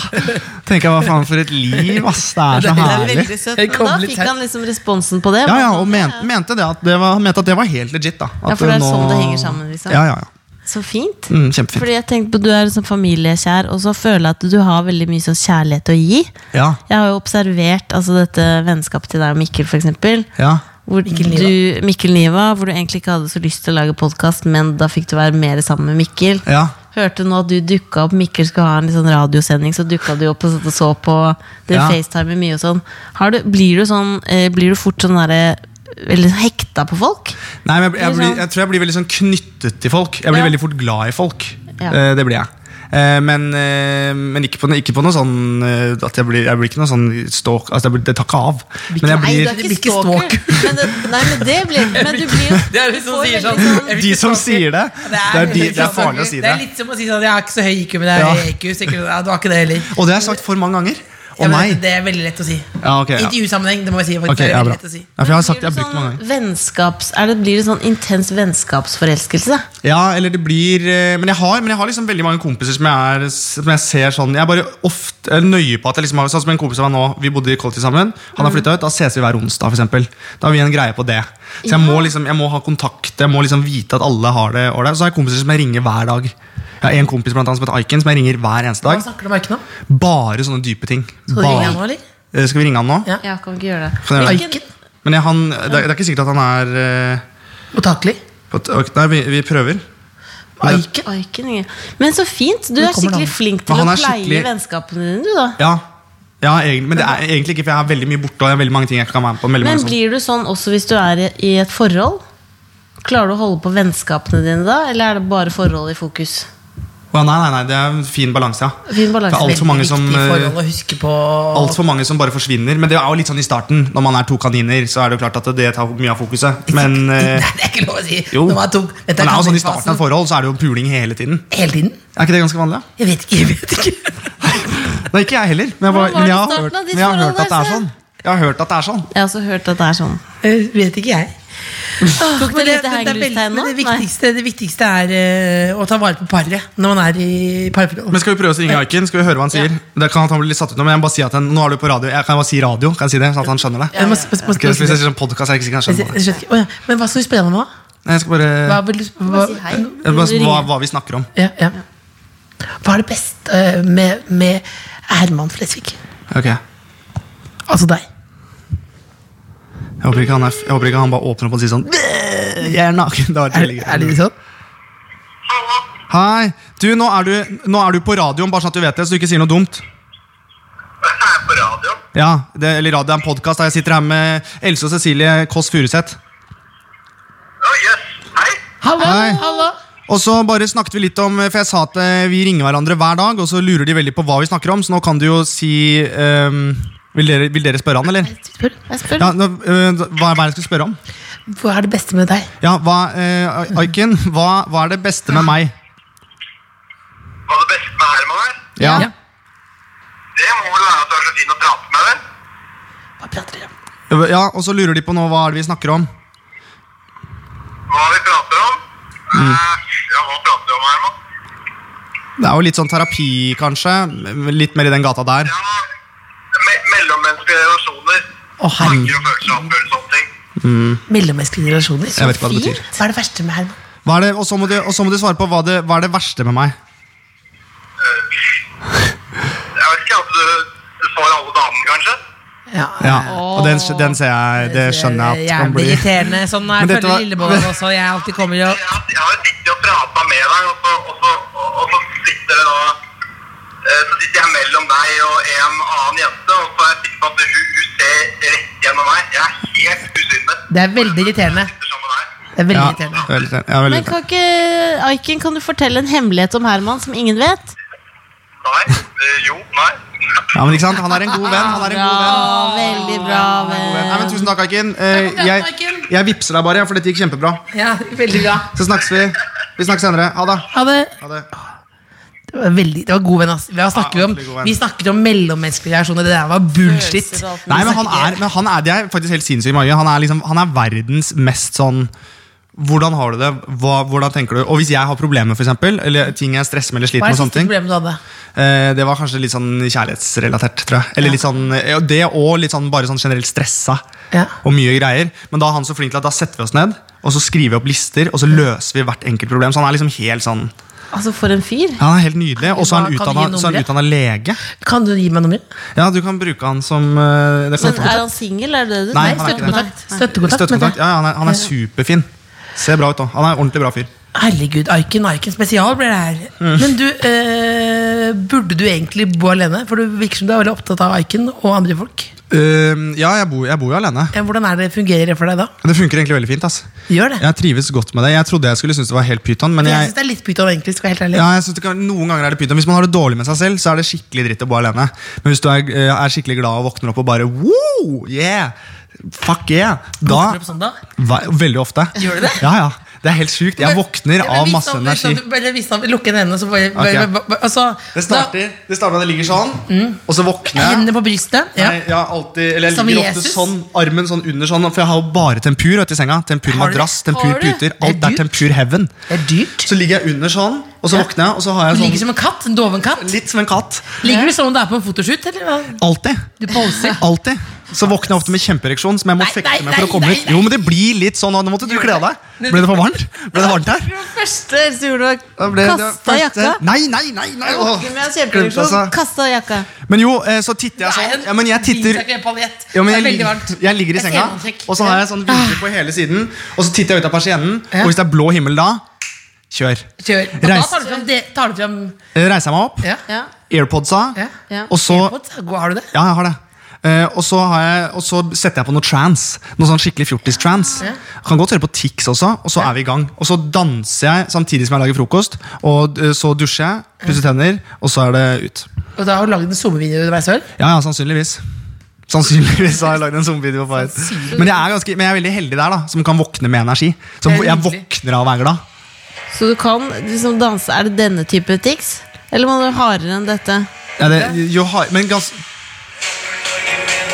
Tenker jeg, Hva faen for et liv, ass. Det er så herlig.
Jeg kom
Da
litt
fikk
her.
han liksom responsen på det.
Ja, ja, Og men, mente, det at det var, mente at det var helt legit. da
Ja,
at
for det er
nå-
sånn det henger sammen, liksom.
Ja, ja, ja.
Så fint.
Mm, kjempefint.
Fordi jeg tenkte på Du er sånn familiekjær, og så føler jeg at du har veldig mye sånn kjærlighet å gi.
Ja.
Jeg har jo observert altså, dette vennskapet til deg og Mikkel, f.eks.
Ja.
Hvor
Mikkel Niva.
du, Mikkel Niva, hvor du egentlig ikke hadde så lyst til å lage podkast, men da fikk du være mer sammen med Mikkel.
Ja.
Hørte nå at du dukka opp, Mikkel skulle ha en litt sånn radiosending, så dukka du opp og satt og så på. Dere
Ja.
facetimer mye og sånn. Har du, blir, du sånn eh, blir du fort sånn derre Veldig hekta på folk?
Nei, men jeg, jeg,
Eller
blir,
sånn.
jeg tror jeg blir veldig sånn knyttet til folk. Jeg blir
Ja.
veldig fort glad i folk.
Ja.
Eh, det blir jeg. Eh, men eh, men ikke, på, noe- ikke på noe sånn eh, at jeg blir, jeg blir ikke noe sånn stalk altså jeg blir, Det tar ikke av. Men jeg
Nei, du
blir,
er
det blir
ikke
ikke
stalker. Men det, nei, men det blir Men du blir jo
<laughs> Det er de som
du får
sier
veldig
sånn, jeg vil
de
ikke
som
snakke.
sier det, det er, de, det er farlig å si
Det
det.
er litt som å si sånn, jeg har ikke så høy IQ, men jeg
Ja.
har høy EQ. så jeg kunne- Ja, du har ikke det heller.
Og det har jeg sagt for mange ganger. Å
Ja, men
nei.
det- Det er veldig lett å si.
Ja, ok, ja.
Intervjusammenheng, det må jeg si. Faktisk,
Ok,
det er
ja,
veldig
bra.
lett å si.
Ja, for jeg har
Blir
sagt jeg
det
har brukt det mange
sånn
ganger.
vennskaps... Er det, blir det sånn intens vennskapsforelskelse?
Ja, eller det blir eh, Men jeg har, men jeg har liksom veldig mange kompiser som jeg, er, som jeg ser sånn Jeg er bare ofte er nøye på at jeg liksom har Sånn som en kompis av meg nå, vi bodde i kollektiv sammen. Han
Mm.
har flytta ut, da ses vi hver onsdag, for eksempel. Da har vi en greie på det. Så jeg, må liksom, jeg må ha kontakt, jeg må liksom vite at alle har det. ålreit. Så har jeg kompiser som jeg ringer hver dag. Jeg har en kompis blant annet som heter Aiken, som jeg ringer hver eneste
Hva
dag.
snakker du om Arken om?
Bare sånne dype ting.
Skal du ringe han nå,
Bare-
eller?
Eh, Skal vi ringe han nå?
Ja.
Ja, kan vi ikke gjøre det.
Kan jeg gjøre det?
Hvilken-
Men jeg, han, det, er, det er ikke sikkert at han er eh,
Mottakelig?
på, Nei, vi, vi prøver.
Aiken?
Orken, ingen. Men så fint! Du
Nå
er
kommer det
skikkelig
an.
flink
Men
til å
han er
pleie
skikkelig-
vennskapene dine, du, da.
Ja, ja egentlig, men det er egentlig ikke, for jeg har veldig mye borte. Og jeg har veldig mange ting jeg ikke kan være med på veldig
Men
mange sånne-
blir du sånn også hvis du er i- i et forhold? Klarer du å holde på vennskapene dine da, eller er det bare forhold i fokus?
Å, Nei, nei, nei, det er en fin balanse, ja.
Fin balanse.
Det er alt for mange
Veldig
som,
viktig
eh,
forhold å huske på.
alt for mange som bare forsvinner. Men det er jo litt sånn i starten, når man er to kaniner, så er det jo klart at det tar mye av fokuset. Men eh,
<laughs> Nei, det er ikke lov å si.
jo.
Når man er tung.
Men det er jo sånn i starten av et forhold, så er det jo puling hele tiden.
Hele tiden?
Er ikke det ganske vanlig? ja?
Jeg vet ikke. <laughs> jeg vet ikke
Nei, ikke jeg heller. Men
Hvordan
jeg, bare,
var
men
det
jeg,
starten
har, hørt,
av ditt
men jeg har
forhold
hørt at det
der,
er
Sven?
sånn. Jeg har hørt at det er sånn.
Jeg har også hørt at det er sånn.
Eh, vet ikke jeg.
Tok
Ah, Men
du
det,
litt
men det, er veldig-
hengeltegn nå?
men det,
Nei.
viktigste, det viktigste er eh, å ta vare på paret når man er i parforhold.
Men skal vi prøve å ringe Aiken? Skal vi høre hva han sier? Det kan at han blir litt satt ut nå, men jeg må bare si at han, nå er du på radio. Jeg kan bare si radio, kan jeg si det? Sånn at han skjønner det.
Jeg må- må- må-
Ok, så hvis jeg sier sånn podcast, er jeg ikke sikker han
Jeg
skjønner det.
skjønner ikke. Å, ja. Men hva skal vi spille om nå?
Nei, Jeg skal bare...
Hva, vil du, hva,
Si hei.
Jeg bare, hva,
Ringe.
hva vi snakker om.
ja, ja. hva er det beste eh, med, med Herman Flesvig?
Ok Jeg
Altså deg.
håper ikke han, er, f- jeg håper ikke han bare åpner opp og sier sånn «Bæ, Jeg er naken. Det
Er, er det sånn?
Hei. Du, nå er du, nå er du på radioen, bare sånn at du vet det, så du ikke sier noe dumt.
på radioen.
Ja, det, eller radio er en podkast. Jeg sitter her med Else og Cecilie Kåss Furuseth.
Å, jøss. Hei.
Hallo,
Hei.
hallo.
Og så bare snakket vi litt om For jeg sa at eh, vi ringer hverandre hver dag, og så lurer de veldig på hva vi snakker om, så nå kan du jo si ehm, vil, dere, vil dere spørre han, eller?
Spør.
Jeg spør.
Ja, nå, eh, hva hva er det jeg skal spørre om?
Hva er det beste med deg?
Ja, hva, eh, Aiken, hva, hva er det beste med meg?
Hva det beste med Herman er?
Ja.
Det må vel være at du er så fin å prate med, vel?
Hva prater dere om?
Ja, og så lurer de på nå hva er det vi snakker om.
Hva vi prater om? Eh, ja, hva prater vi om, Herman?
Det er jo litt sånn terapi, kanskje. Litt mer i den gata der.
Ja, me mellommenneskelige relasjoner.
Å, herregud.
Tanker og følelser og følelser og sånne ting.
Mellommenneskelige relasjoner.
Jeg vet ikke hva det
Fint.
betyr.
Hva er det verste med Herman?
Hva er det, og, så må du, og så må du svare på hva, det, hva er det verste med meg.
Jeg vet ikke at du får alle damene, kanskje?
Ja, og den, den ser jeg, det skjønner jeg at kan
Jævlig
bli
irriterende. Sånn er
Men dette
følger
var-
Lillebolla også. Jeg alltid kommer og
Jeg har- Jeg har sittet og prata med deg, og så, og så, og så sitter det da eh, Så sitter jeg mellom deg og en annen jente, og så er jeg sikker på at hun, hun ser rett gjennom meg. Jeg er helt usynlig.
Det er veldig irriterende.
Jeg sitter sammen med deg.
Det er veldig
Ja,
irriterende.
veldig irriterende. Ja, veldig
Men kan
irriterende.
ikke, Aiken, kan du fortelle en hemmelighet om Herman som ingen vet?
Nei. Eh, jo. Nei.
ja, men ikke sant? Han er en god venn. Han er en god venn.
Ah.
Bra, Ah, veldig bra, venn.
Nei, men Tusen takk, Aiken. Eh, Jeg, jeg vipser deg bare, for dette gikk kjempebra.
Ja, veldig bra.
Så snakkes vi. Vi snakkes senere. Ha det.
Ha det.
Ha det.
Det var, veldig, det var god venn, ass. Vi, har snakket
Ja,
om,
ordentlig god venn.
vi snakket om mellommenneskelige relasjoner. Det der var bullshit.
Følelser og alt mulig.
Nei, men han er, men han er, det er faktisk helt sinnssykt mange. Han er, liksom, han er verdens mest sånn Hvordan har du det? Hva, hvordan tenker du? Og hvis jeg har problemer, for eksempel, eller ting jeg stresser med eller
Hva
sliter
er det
med, og sånne
siste
ting,
problemet du hadde?
eh, det var kanskje litt sånn kjærlighetsrelatert, tror jeg. Eller litt sånn, ja, det og litt sånn bare sånn generelt stressa
Ja.
og mye greier. Men da er han så flink til at da setter vi oss ned, og så skriver vi opp lister, og så løser vi hvert enkelt problem. Så han er liksom helt sånn
Altså, for en fyr.
ja, han er helt nydelig. Og så er han
Hva- kan du gi
utdanna- så er han
nummeret?
utdanna lege.
Kan du gi meg nummeret?
Ja, du kan bruke han som eh, det kan
Men er han singel, er det det du
Nei, han er ikke det.
støttekontakt. Nei.
Støttekontakt? mener
Støttekontakt.
jeg.
Ja, ja, han er, han er superfin. Ser bra ut òg. Han er en ordentlig bra fyr.
Herregud, Aiken Aiken spesial blir det her.
Mm.
Men du, eh, burde du egentlig bo alene? For du virker som du er veldig opptatt av Aiken og andre folk.
Ehm, ja, jeg bor, jeg bor jo alene.
Eh, Hvordan er det fungerer det for deg da?
Det funker egentlig veldig fint. ass
Gjør det?
Jeg trives godt med det. Jeg trodde jeg skulle synes det var helt pyton, men
jeg
jeg,
syns det er litt pyton, egentlig. Skal jeg være helt ærlig.
ja, jeg synes det kan, noen ganger er det pyton. Hvis man har det dårlig med seg selv, så er det skikkelig dritt å bo alene. Men hvis du er, eh, er skikkelig glad og våkner opp og bare wow, yeah, fuck yeah, da
Våkner du på søndag?
Ve- Veldig ofte.
Gjør du det?
Ja, ja. Det er helt sjukt. Jeg våkner av masse energi.
Bare vis ham, lukke en ende, så bare, bare,
Ok.
bare, bare altså,
Det starter, det starter med at jeg ligger sånn,
Mm.
og så våkner
da,
jeg.
Hendene på brystet. Ja.
Nei, jeg har alltid, eller jeg
Som
ligger ofte
Jesus?
sånn, armen sånn under sånn, for jeg har jo bare tempur vet, du, i senga. Tempur
Har du-
madrass, tempur
har du?
puter.
er
Alt er
dyrt.
tempur heaven.
Det er dyrt.
Så ligger jeg under sånn, og så
Ja.
våkner jeg, og så har
Du
jeg
ligger
sånn
som en katt. En doven katt.
Litt som en katt.
Ligger du som om du er på en fotoshoot? Eller hva?
Alltid.
Du poser.
Alltid. Så våkner jeg ofte med kjempeereksjon som jeg må
Nei,
fekte
nei,
med for
nei,
å komme
nei,
ut.
nei.
Jo, men det blir litt sånn, og nå måtte du kle av deg. Ble det for varmt? Ble det varmt her?
Det første Else gjorde,
Da
var
ble det
kasta
første-
jakka.
Nei, nei, nei! nei. åh.
Våkne med en kjempereaksjon,
Glemte, altså.
kastet jakka.
Men jo, eh, så titter jeg sånn. Ja, men jeg titter ja, men jeg, ligger, jeg ligger i senga, og så har jeg sånn vinter på hele siden. Og så titter jeg ut av persiennen,
Ja.
og hvis det er blå himmel da, kjør.
Kjør. Og da
Reis.
tar du fram, det, tar du fram
Eh, Reiser jeg meg opp,
ja.
Ja.
airpodsa,
Ja.
Ja.
og så
Godt, god, Har du det?
Ja, jeg har det. Eh, og, så har jeg, og så setter jeg på noe trans. Noe sånn skikkelig fjortis-trans. Kan godt høre på Tix også, og så er vi i gang. Og så danser jeg samtidig som jeg lager frokost. Og eh, så dusjer jeg, pusser tenner, og så er det ut.
Og da har du lagd en sommervideo underveis òg?
Ja, ja, sannsynligvis. Sannsynligvis har jeg lagd en zombie-video på Fight. Men jeg, er ganske, men jeg er veldig heldig der, da, som kan våkne med energi. Som
Det er
jeg
hyggelig.
våkner av å være glad.
Så du kan liksom danse Er det denne type tics? Eller må du være hardere enn dette?
Ja, det, jo, har- men gans,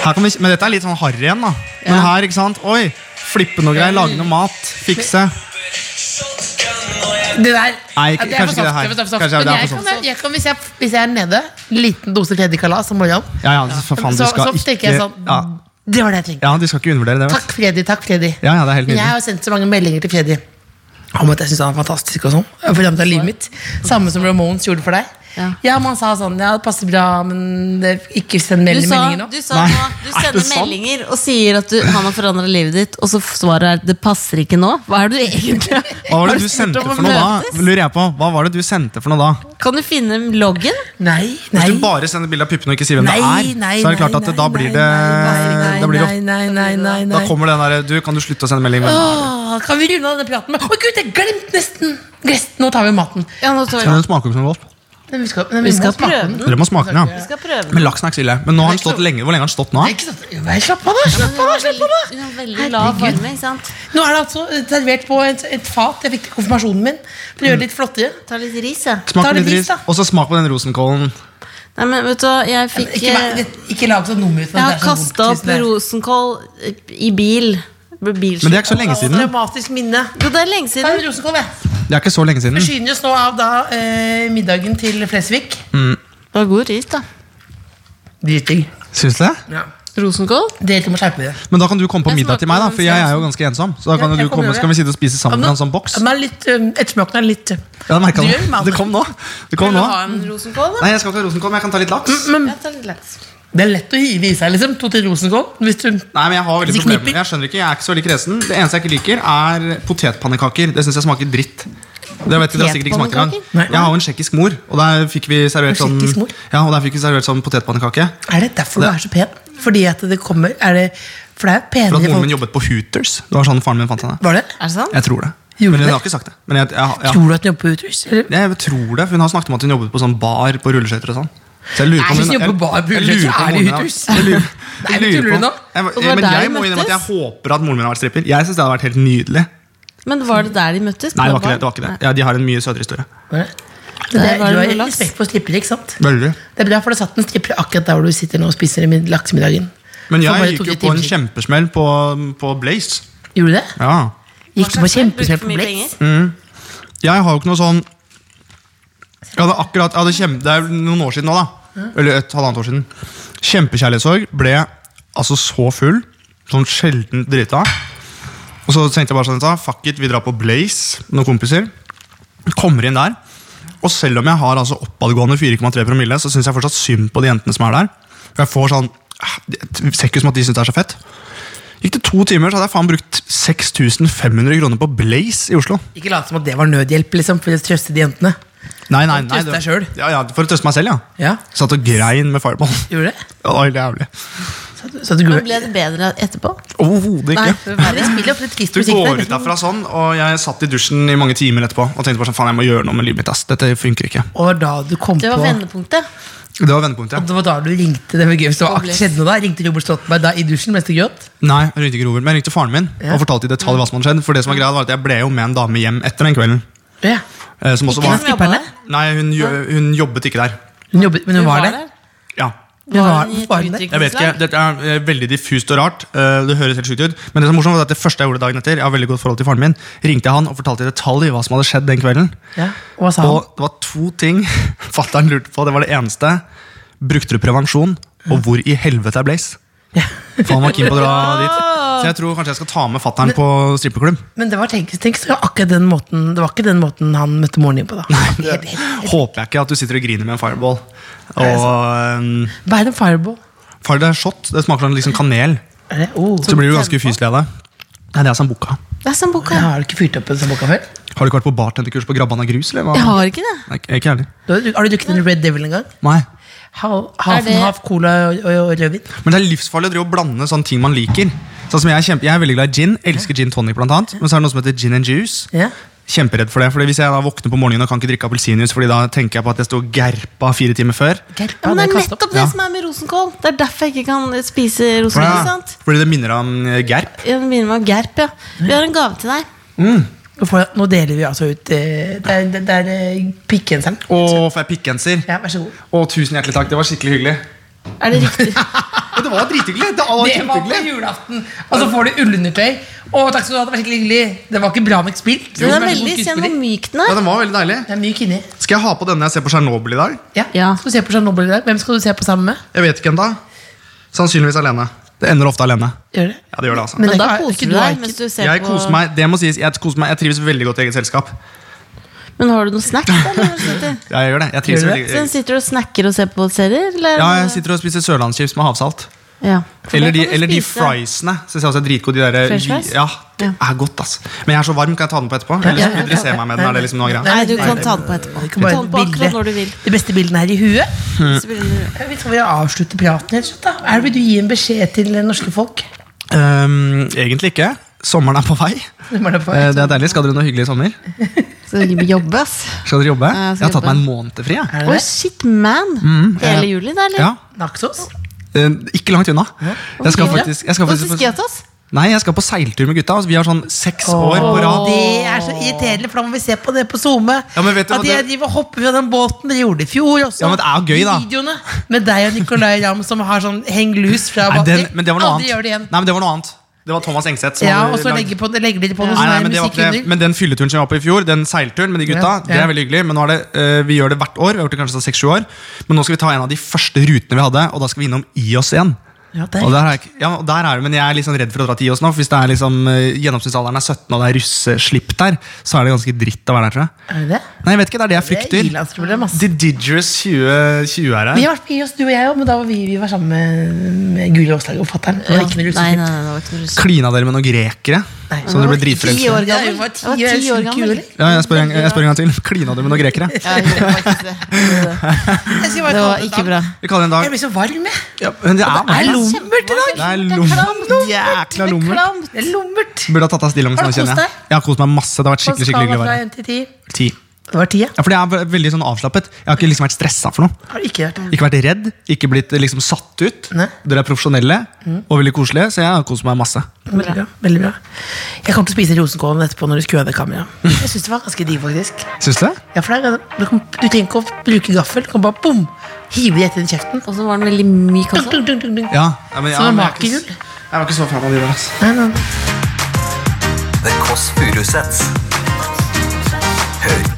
her kan vi, men dette er litt sånn harry igjen, da. Men
Ja.
her, ikke sant? Oi! Flippe noe greier, lage noe mat, fikse.
Det der
Nei,
ja,
kanskje ikke det her.
for soft.
Kanskje det
Men
er
jeg
for
kan være- jeg kan, hvis, jeg, hvis jeg er nede, liten dose tredje kalas om morgenen,
Ja, ja, for faen, du
så,
skal
så tenker jeg
ikke
sånn
ja,
Det var det jeg trengte.
ja, du skal ikke undervurdere det. Vet.
Takk, Freddy. Takk, Freddy.
Ja, ja, det er helt
Men jeg
nydelig.
har sendt så mange meldinger til Freddy om at jeg syns han er fantastisk. og sånn For det er livet mitt Samme som Ramones gjorde for deg. Ja.
Ja.
men han sa sånn Ja, det passer bra, men det, ikke send
Du
mel-
sa,
meldinger nå.
du sa nå Du
er
sender
det sant?
meldinger og sier at du, han har forandra livet ditt, og så svaret er 'det passer ikke nå'? Hva er det du egentlig
Hva var det
Har
du
spurt
sendte
om å
for noe da?
møtes?
Lurer jeg på, Hva var det du sendte for noe da?
Kan du finne loggen?
Nei, nei.
Hvis du bare sender bilde av puppene og ikke sier hvem det er, så er det klart at det- da blir det
nei,
da blir det
nei, nei, nei, nei,
Da
nei.
kommer den derre Du, kan du slutte å sende melding? Hvem
Åh, Kan vi runde av denne praten med Å, gud, jeg glemte nesten! Glest, nå tar vi maten.
Ja, nå tar
Skal
vi
den smake opp som godt?
Men vi skal, men
Vi skal
må smake
prøve
den.
den.
Dere må smake den,
Vi
ja.
skal prøve den.
Men laksen er ikke så ille. Men nå har den stått lenge. Hvor lenge har den stått nå?
Ikke sant? Jo, Vær slapp av, da! Slapp av, da, slapp av da.
Hun har veldig lav
Herregud.
varme, ikke sant?
Nå er det altså eh, servert på et, et fat jeg fikk til konfirmasjonen min. For å gjøre det litt flottere.
Ta litt ris, ja.
Smak
Ta
på
litt
litt
ris,
ris,
da.
og så smak på den rosenkålen.
Nei, men vet du hva, jeg fikk
Ikke, vær-
eh,
ikke lag sånn nummer ut
Jeg
av det,
har
det er så vondt,
kasta
tusen
opp
takk.
rosenkål eh, i bil. Men
Men det er ikke så lenge siden.
Dramatisk minne.
Jo, det er lenge
Ta en
siden.
rosenkål, jeg.
Det er ikke så lenge siden.
Forsyner oss nå av da eh, middagen til Flesvig.
Mm.
Det var god ris, da.
Dritdigg.
Syns du det?
Rosenkål?
Dere må skjerpe dere.
Men da kan du komme på
Jeg
middag til
smaker
meg, da,
på
for jeg er jo ganske ensom. Så da kan
Ja,
du
jeg kommer
komme, så kan
over.
vi sitte og spise sammen fra en sånn boks.
Den er litt, um, ettersmaken er litt eh,
Ja, det merket
Du
jeg
gjør
nå.
meg
Det kom nå. Det kom nå.
en rosenkål,
Mm. Nei, jeg skal ikke ha rosenkål, men jeg kan ta litt laks.
men,
Jeg tar litt laks.
Det er lett å hive i seg, liksom. To-tre rosenkål. Hvis du
Nei, men Jeg har veldig
De
problemer
knipper.
med Jeg skjønner ikke, jeg er ikke så veldig kresen. Det eneste jeg ikke liker, er potetpannekaker. Det syns jeg smaker dritt. Det vet dere har sikkert ikke smakt engang.
Potetpannekaker?
Nei.
Jeg har jo en tsjekkisk mor, og der fikk vi servert
En
sånn
tsjekkisk mor?
Ja, og der fikk vi servert sånn potetpannekake.
Er det derfor du er så pen? Fordi at det kommer Er det For det er
For at
penere
moren
folk.
min jobbet på Hooters. Det var sånn faren min fant henne.
Var det?
Er det sant?
Jeg tror det.
Gjorde
Men
du
hun
det?
har ikke sagt det. Men jeg, jeg, jeg,
Tror du at den jobber på Utrus? Eller?
jeg, tror det, for hun har snakket om at hun jobbet på sånn bar på rulleskøyter og sånn. Så jeg lurer
Nei,
på om
hvis
hun-
du jobber på bar på
jeg- jeg
rulleskøyter,
lurer
så er
på om
det
moren min-
Hooters.
Jeg
Nei,
lurer- jeg
men
lurer
tuller du
på-
nå?
Jeg,
Og det var
men
der
jeg
de
må innrømme at jeg
møttes?
håper at moren min har vært stripper. Jeg syns det hadde vært helt nydelig.
Men var det der de møttes?
Nei, det var ikke det. det, var ikke det. Ja, de har en mye søtere historie.
Var det? Det
Der
er,
var
du
det
har
noe laks.
respekt for strippere, ikke sant?
Veldig.
Det er bra, for det satt en stripper akkurat der hvor du sitter nå og spiser i mid- laksemiddagen.
Men
For bare
jeg gikk
to-tre
jo på
timer
en
siden.
kjempesmell på, på Blaze.
Gjorde du det?
Ja.
Gikk du på kjempesmell på Blitz?
Blitz?
Jeg har jo ikke noe sånn jeg hadde akkurat, jeg hadde kjempe, Det er noen år siden nå, da. Eller et halvannet år siden. Kjempekjærlighetssorg. Ble altså så full. Sånn sjelden drita. Og så tenkte jeg bare sånn, «Ah, fuck it, vi drar på Blaze, noen kompiser. Kommer inn der. Og selv om jeg har altså oppadgående 4,3 promille, så syns jeg fortsatt synd på de jentene som er der. Og jeg får sånn, «Ah, Det ser ikke ut som at de syns det er så fett. Gikk det to timer, så hadde jeg faen brukt 6500 kroner på Blaze i Oslo.
Ikke lat som at det var nødhjelp, liksom, for å trøste de jentene.
Nei, nei, nei
trøste
det-
deg selv.
Ja, ja, for å trøste meg selv, ja.
Ja,
Satt og grein med fireball. <laughs>
Gjorde det?
Det var helt jævlig.
Så at du
Men ble det bedre etterpå?
<laughs>
Overhodet
Nei,
ikke.
vi spiller opp litt trist
Du
musikk
går
der.
ut derfra sånn, og jeg satt i dusjen i mange timer etterpå og tenkte bare sånn, faen, jeg må gjøre noe med livet mitt. ass. Dette funker ikke.
Og da du kom
Det var
på
vendepunktet.
Det var vendepunktet.
Det var da du ringte det var gøy, hvis det var
Ble-
akt- skjedde noe da? Ringte Robert Stoltenberg da i dusjen mens du gråt?
Nei, jeg ringte ikke Robert, men jeg ringte faren min og fortalte i detalj hva som hadde skjedd. For det som var greia var at Jeg ble jo med en dame hjem etter den kvelden.
Ja.
eh, Som også
Ikke
var
som jobba der.
Nei, hun, jo- hun jobbet ikke der.
Hun jobbet, men hun var der?
Ja.
Hun var,
hun i et
var hun der?
Jeg vet ikke, Dette er eh, veldig diffust og rart. eh, Det høres helt sykt ut. Men det som er morsomt var at det første jeg gjorde dagen etter, jeg har veldig godt forhold til faren min, ringte jeg han og fortalte i detalj hva som hadde skjedd den kvelden.
Ja. og Hva sa han?
Og det var to ting <laughs> fatter'n lurte på. Det var det eneste. Brukte du prevensjon? Og hvor i helvete er Blaze?
Ja.
For han var keen
<laughs>
på å dra dit. Så jeg tror kanskje jeg skal ta med fatter'n på strippeklubb.
Men det var tenk, tenk så akkurat den måten Det var ikke den måten han møtte moren din på, da. Helt- helt-
Håper jeg ikke at du sitter og griner med en fireball.
det
Og um,
Hva er det en fireball?
far, det er shot. Det smaker sånn liksom kanel.
Er det? Oh.
Så blir du ganske ufyselig av det. Nei, det er sambuca.
Det er sambuca.
Ja, har du ikke fyrt opp en sånn boka før?
Har du ikke vært på bartenderkurs på Grabban av grus? Eller? hva?
Jeg har ikke det.
Nei, ikke heller.
Du har- Har du drukket en Red Devil en gang?
Nei.
Half, half,
Er det-
and half cola og, og, og rødvin?
Men det er livsfarlig å drive og blande sånne ting man liker. Sånn som Jeg er, kjempe, jeg er veldig glad i gin. Elsker gin tonic, blant annet. Men så er det noe som heter gin and juice.
Ja.
Kjemperedd for det. Fordi Hvis jeg da våkner på morgenen og kan ikke drikke appelsinjuice, Fordi da tenker jeg på at jeg sto og gerpa fire timer før.
Ja,
Gerpa,
men det
det
er
kastet
nettopp
opp.
det
Ja.
som er med rosenkål. Det er derfor jeg ikke kan spise rosenkål.
Ja.
ikke sant?
Fordi det minner om eh, gerp.
Jeg begynner med gerp, ja. Vi har en gave til deg.
Nå får jeg- Nå deler vi altså ut eh, Det er, det det er eh, pikkgenseren.
Og får jeg pikkgenser.
Ja, vær så god.
Å, tusen hjertelig takk. Det var skikkelig hyggelig.
Er det riktig?
<laughs> Ja, det var drithyggelig!
Det
Det var
var på
kjempehyggelig.
julaften, og så får du ullundertøy. Å, takk skal du ha, det var skikkelig hyggelig. Det var ikke bra med spill.
Den er veldig sen hvor myk den
Ja,
er.
den var veldig deilig.
Det er myk inni.
Skal jeg ha på denne jeg ser på Tsjernobyl i dag?
Ja.
Ja.
Skal du se på Chernobyl i dag? Hvem skal du se på sammen med?
Jeg vet ikke ennå. Sannsynligvis alene. Det ender ofte alene.
Gjør det.
Ja, det gjør det, altså.
Men
Men det
da
er ikke-
koser
ikke
du
du
deg
liker.
mens du ser
Jeg
på
koser meg, det må sies, jeg koser meg Jeg trives veldig godt i eget selskap.
Men har du noen snacks, eller? når du
<laughs>
sitter?
Ja, jeg gjør det. Jeg trives
Gjør du
veldig
Så den sitter og snakker og ser på serier, eller?
Ja, jeg sitter og spiser sørlandschips med havsalt.
Ja. For
Eller
det
de,
kan du
eller de
spise.
friesene. Synes jeg også er dritgode. De der,
French fries?
Ja, det
Ja.
er godt, ass. Men jeg er så varm, kan jeg ta den på etterpå? Eller
ja,
så vil dere se meg med den? Er det liksom noe greia?
Nei, du kan ta den på etterpå.
Du
Du
kan bare
kan ta den på
bilde.
akkurat når du vil.
De beste bildene er i huet.
Mm.
Så vil du-
Vi tror vi avslutter praten. helt slutt, da. Er det Vil du gi en beskjed til eh, norske folk?
Øhm, Ehm, egentlig ikke. Sommeren er på vei.
Hvem er <laughs> det på?
Eh, Det
sånn.
er deilig. Skal dere noe hyggelig i sommer?
Så du jobber, ass.
Skal dere jobbe?
Ja, jeg
Jeg
skal
har tatt
jobbe.
meg en måned fri. jeg.
Er det
Å,
det?
shit, man! Hele juli, da, eller?
Mm. Ja.
Naksås?
Eh, Ikke langt unna. Jeg skal faktisk, jeg skal
Og så
faktisk på,
Skiatas?
Nei, jeg skal på seiltur med gutta. altså, Vi har sånn seks år på rad.
Det er så irriterende, for da må vi se på det på SoMe.
Ja, men vet du
at
hva
jeg
det-
driver og hopper fra den båten. Det gjorde de i fjor også.
Ja, men det er jo gøy,
De
da.
Videoene med deg og Nicolay Ramm som har sånn heng loose fra
Nei, den, men det var noe
Aldri gjør det igjen.
annet. Nei, men det var noe annet. Det var Thomas Engseth. som
Ja,
hadde
og så
lagd-
legger, på, legger de på noe
Nei, nei,
sånn
men, det var
musikk
ikke, det.
under.
men den fylleturen som jeg var på i fjor, den seilturen med de gutta,
Ja,
det
ja.
er veldig hyggelig. Men nå er det, eh, vi gjør det hvert år. Vi har gjort det kanskje sånn 6-7 år. Men nå skal vi ta en av de første rutene vi hadde, og da skal vi innom IOS igjen.
Ja, der.
Og der er jeg, ikke- ja, og der er det, men jeg er litt sånn redd for å dra til IOS nå. For hvis det er liksom, eh, gjennomsnittsalderen er 17, og det er russeslipp der, så er det ganske dritt å være der, tror jeg.
Er det det?
Nei, jeg vet ikke, det er det
Det
jeg
er
frykter.
ilandsproblem, ass.
The Digerous 2020 er
Vi
her.
har vært på IOS, du og jeg òg, men da var vi, vi var sammen med, med Guri Aasland og fatter'n. Det
Ja.
var ikke noe
Nei, nei,
russefilm.
nei, det var ikke noe russ.
Klina dere med noen grekere?
Nei.
Så dere ble
Ti
dritforelska?
år gammel.
Jeg var ti
Jeg var ti
år
år gammel.
gammel.
Ja, jeg spør, en, jeg spør en gang til. <laughs> Klina dere med noen grekere?
Ja, jeg gjorde faktisk det.
Jeg
Det
skal bare ta
var
det
ikke
da.
bra.
Vi kaller det
Jeg
en dag
blir så varm, jeg.
ja, men
Det
det er,
er
varmt.
lummert i dag.
Det er lummert. Jækla lummert.
Klamt.
Det er lummert.
Burde ha tatt av stillongsen.
Har du
nå, kjenner
kost
Jeg
deg?
Jeg har kost meg masse. Det har vært skikkelig skikkelig hyggelig å
Fra
være her.
1 til 10.
Ti.
Det var 10, ja.
Ja, fordi jeg er veldig sånn avslappet. Jeg har ikke liksom vært stressa for noe.
Har du ikke hørt det?
Ikke vært redd, ikke blitt eh, liksom satt ut.
Nei. Mm.
Dere er profesjonelle og veldig koselige, så jeg har kost meg masse.
Veldig bra. veldig bra Jeg kommer til å spise rosenkålen etterpå når du skrur av det kameraet. Jeg synes det var ganske digg, faktisk.
Syns du det?
Ja, for det er, du, kan, du trenger ikke å bruke gaffel. Du kan bare bom, hive det rett inn i kjeften.
Og så var den veldig myk
Dung,
også.
dung, dung, dung, dung.
Ja. ja, men, ja,
Som en
men jeg, er
makerhjul.
ikke, s- jeg var ikke så fan av de der. ass.
Nei, nei, nei.
The Kåss Furuseths. Hør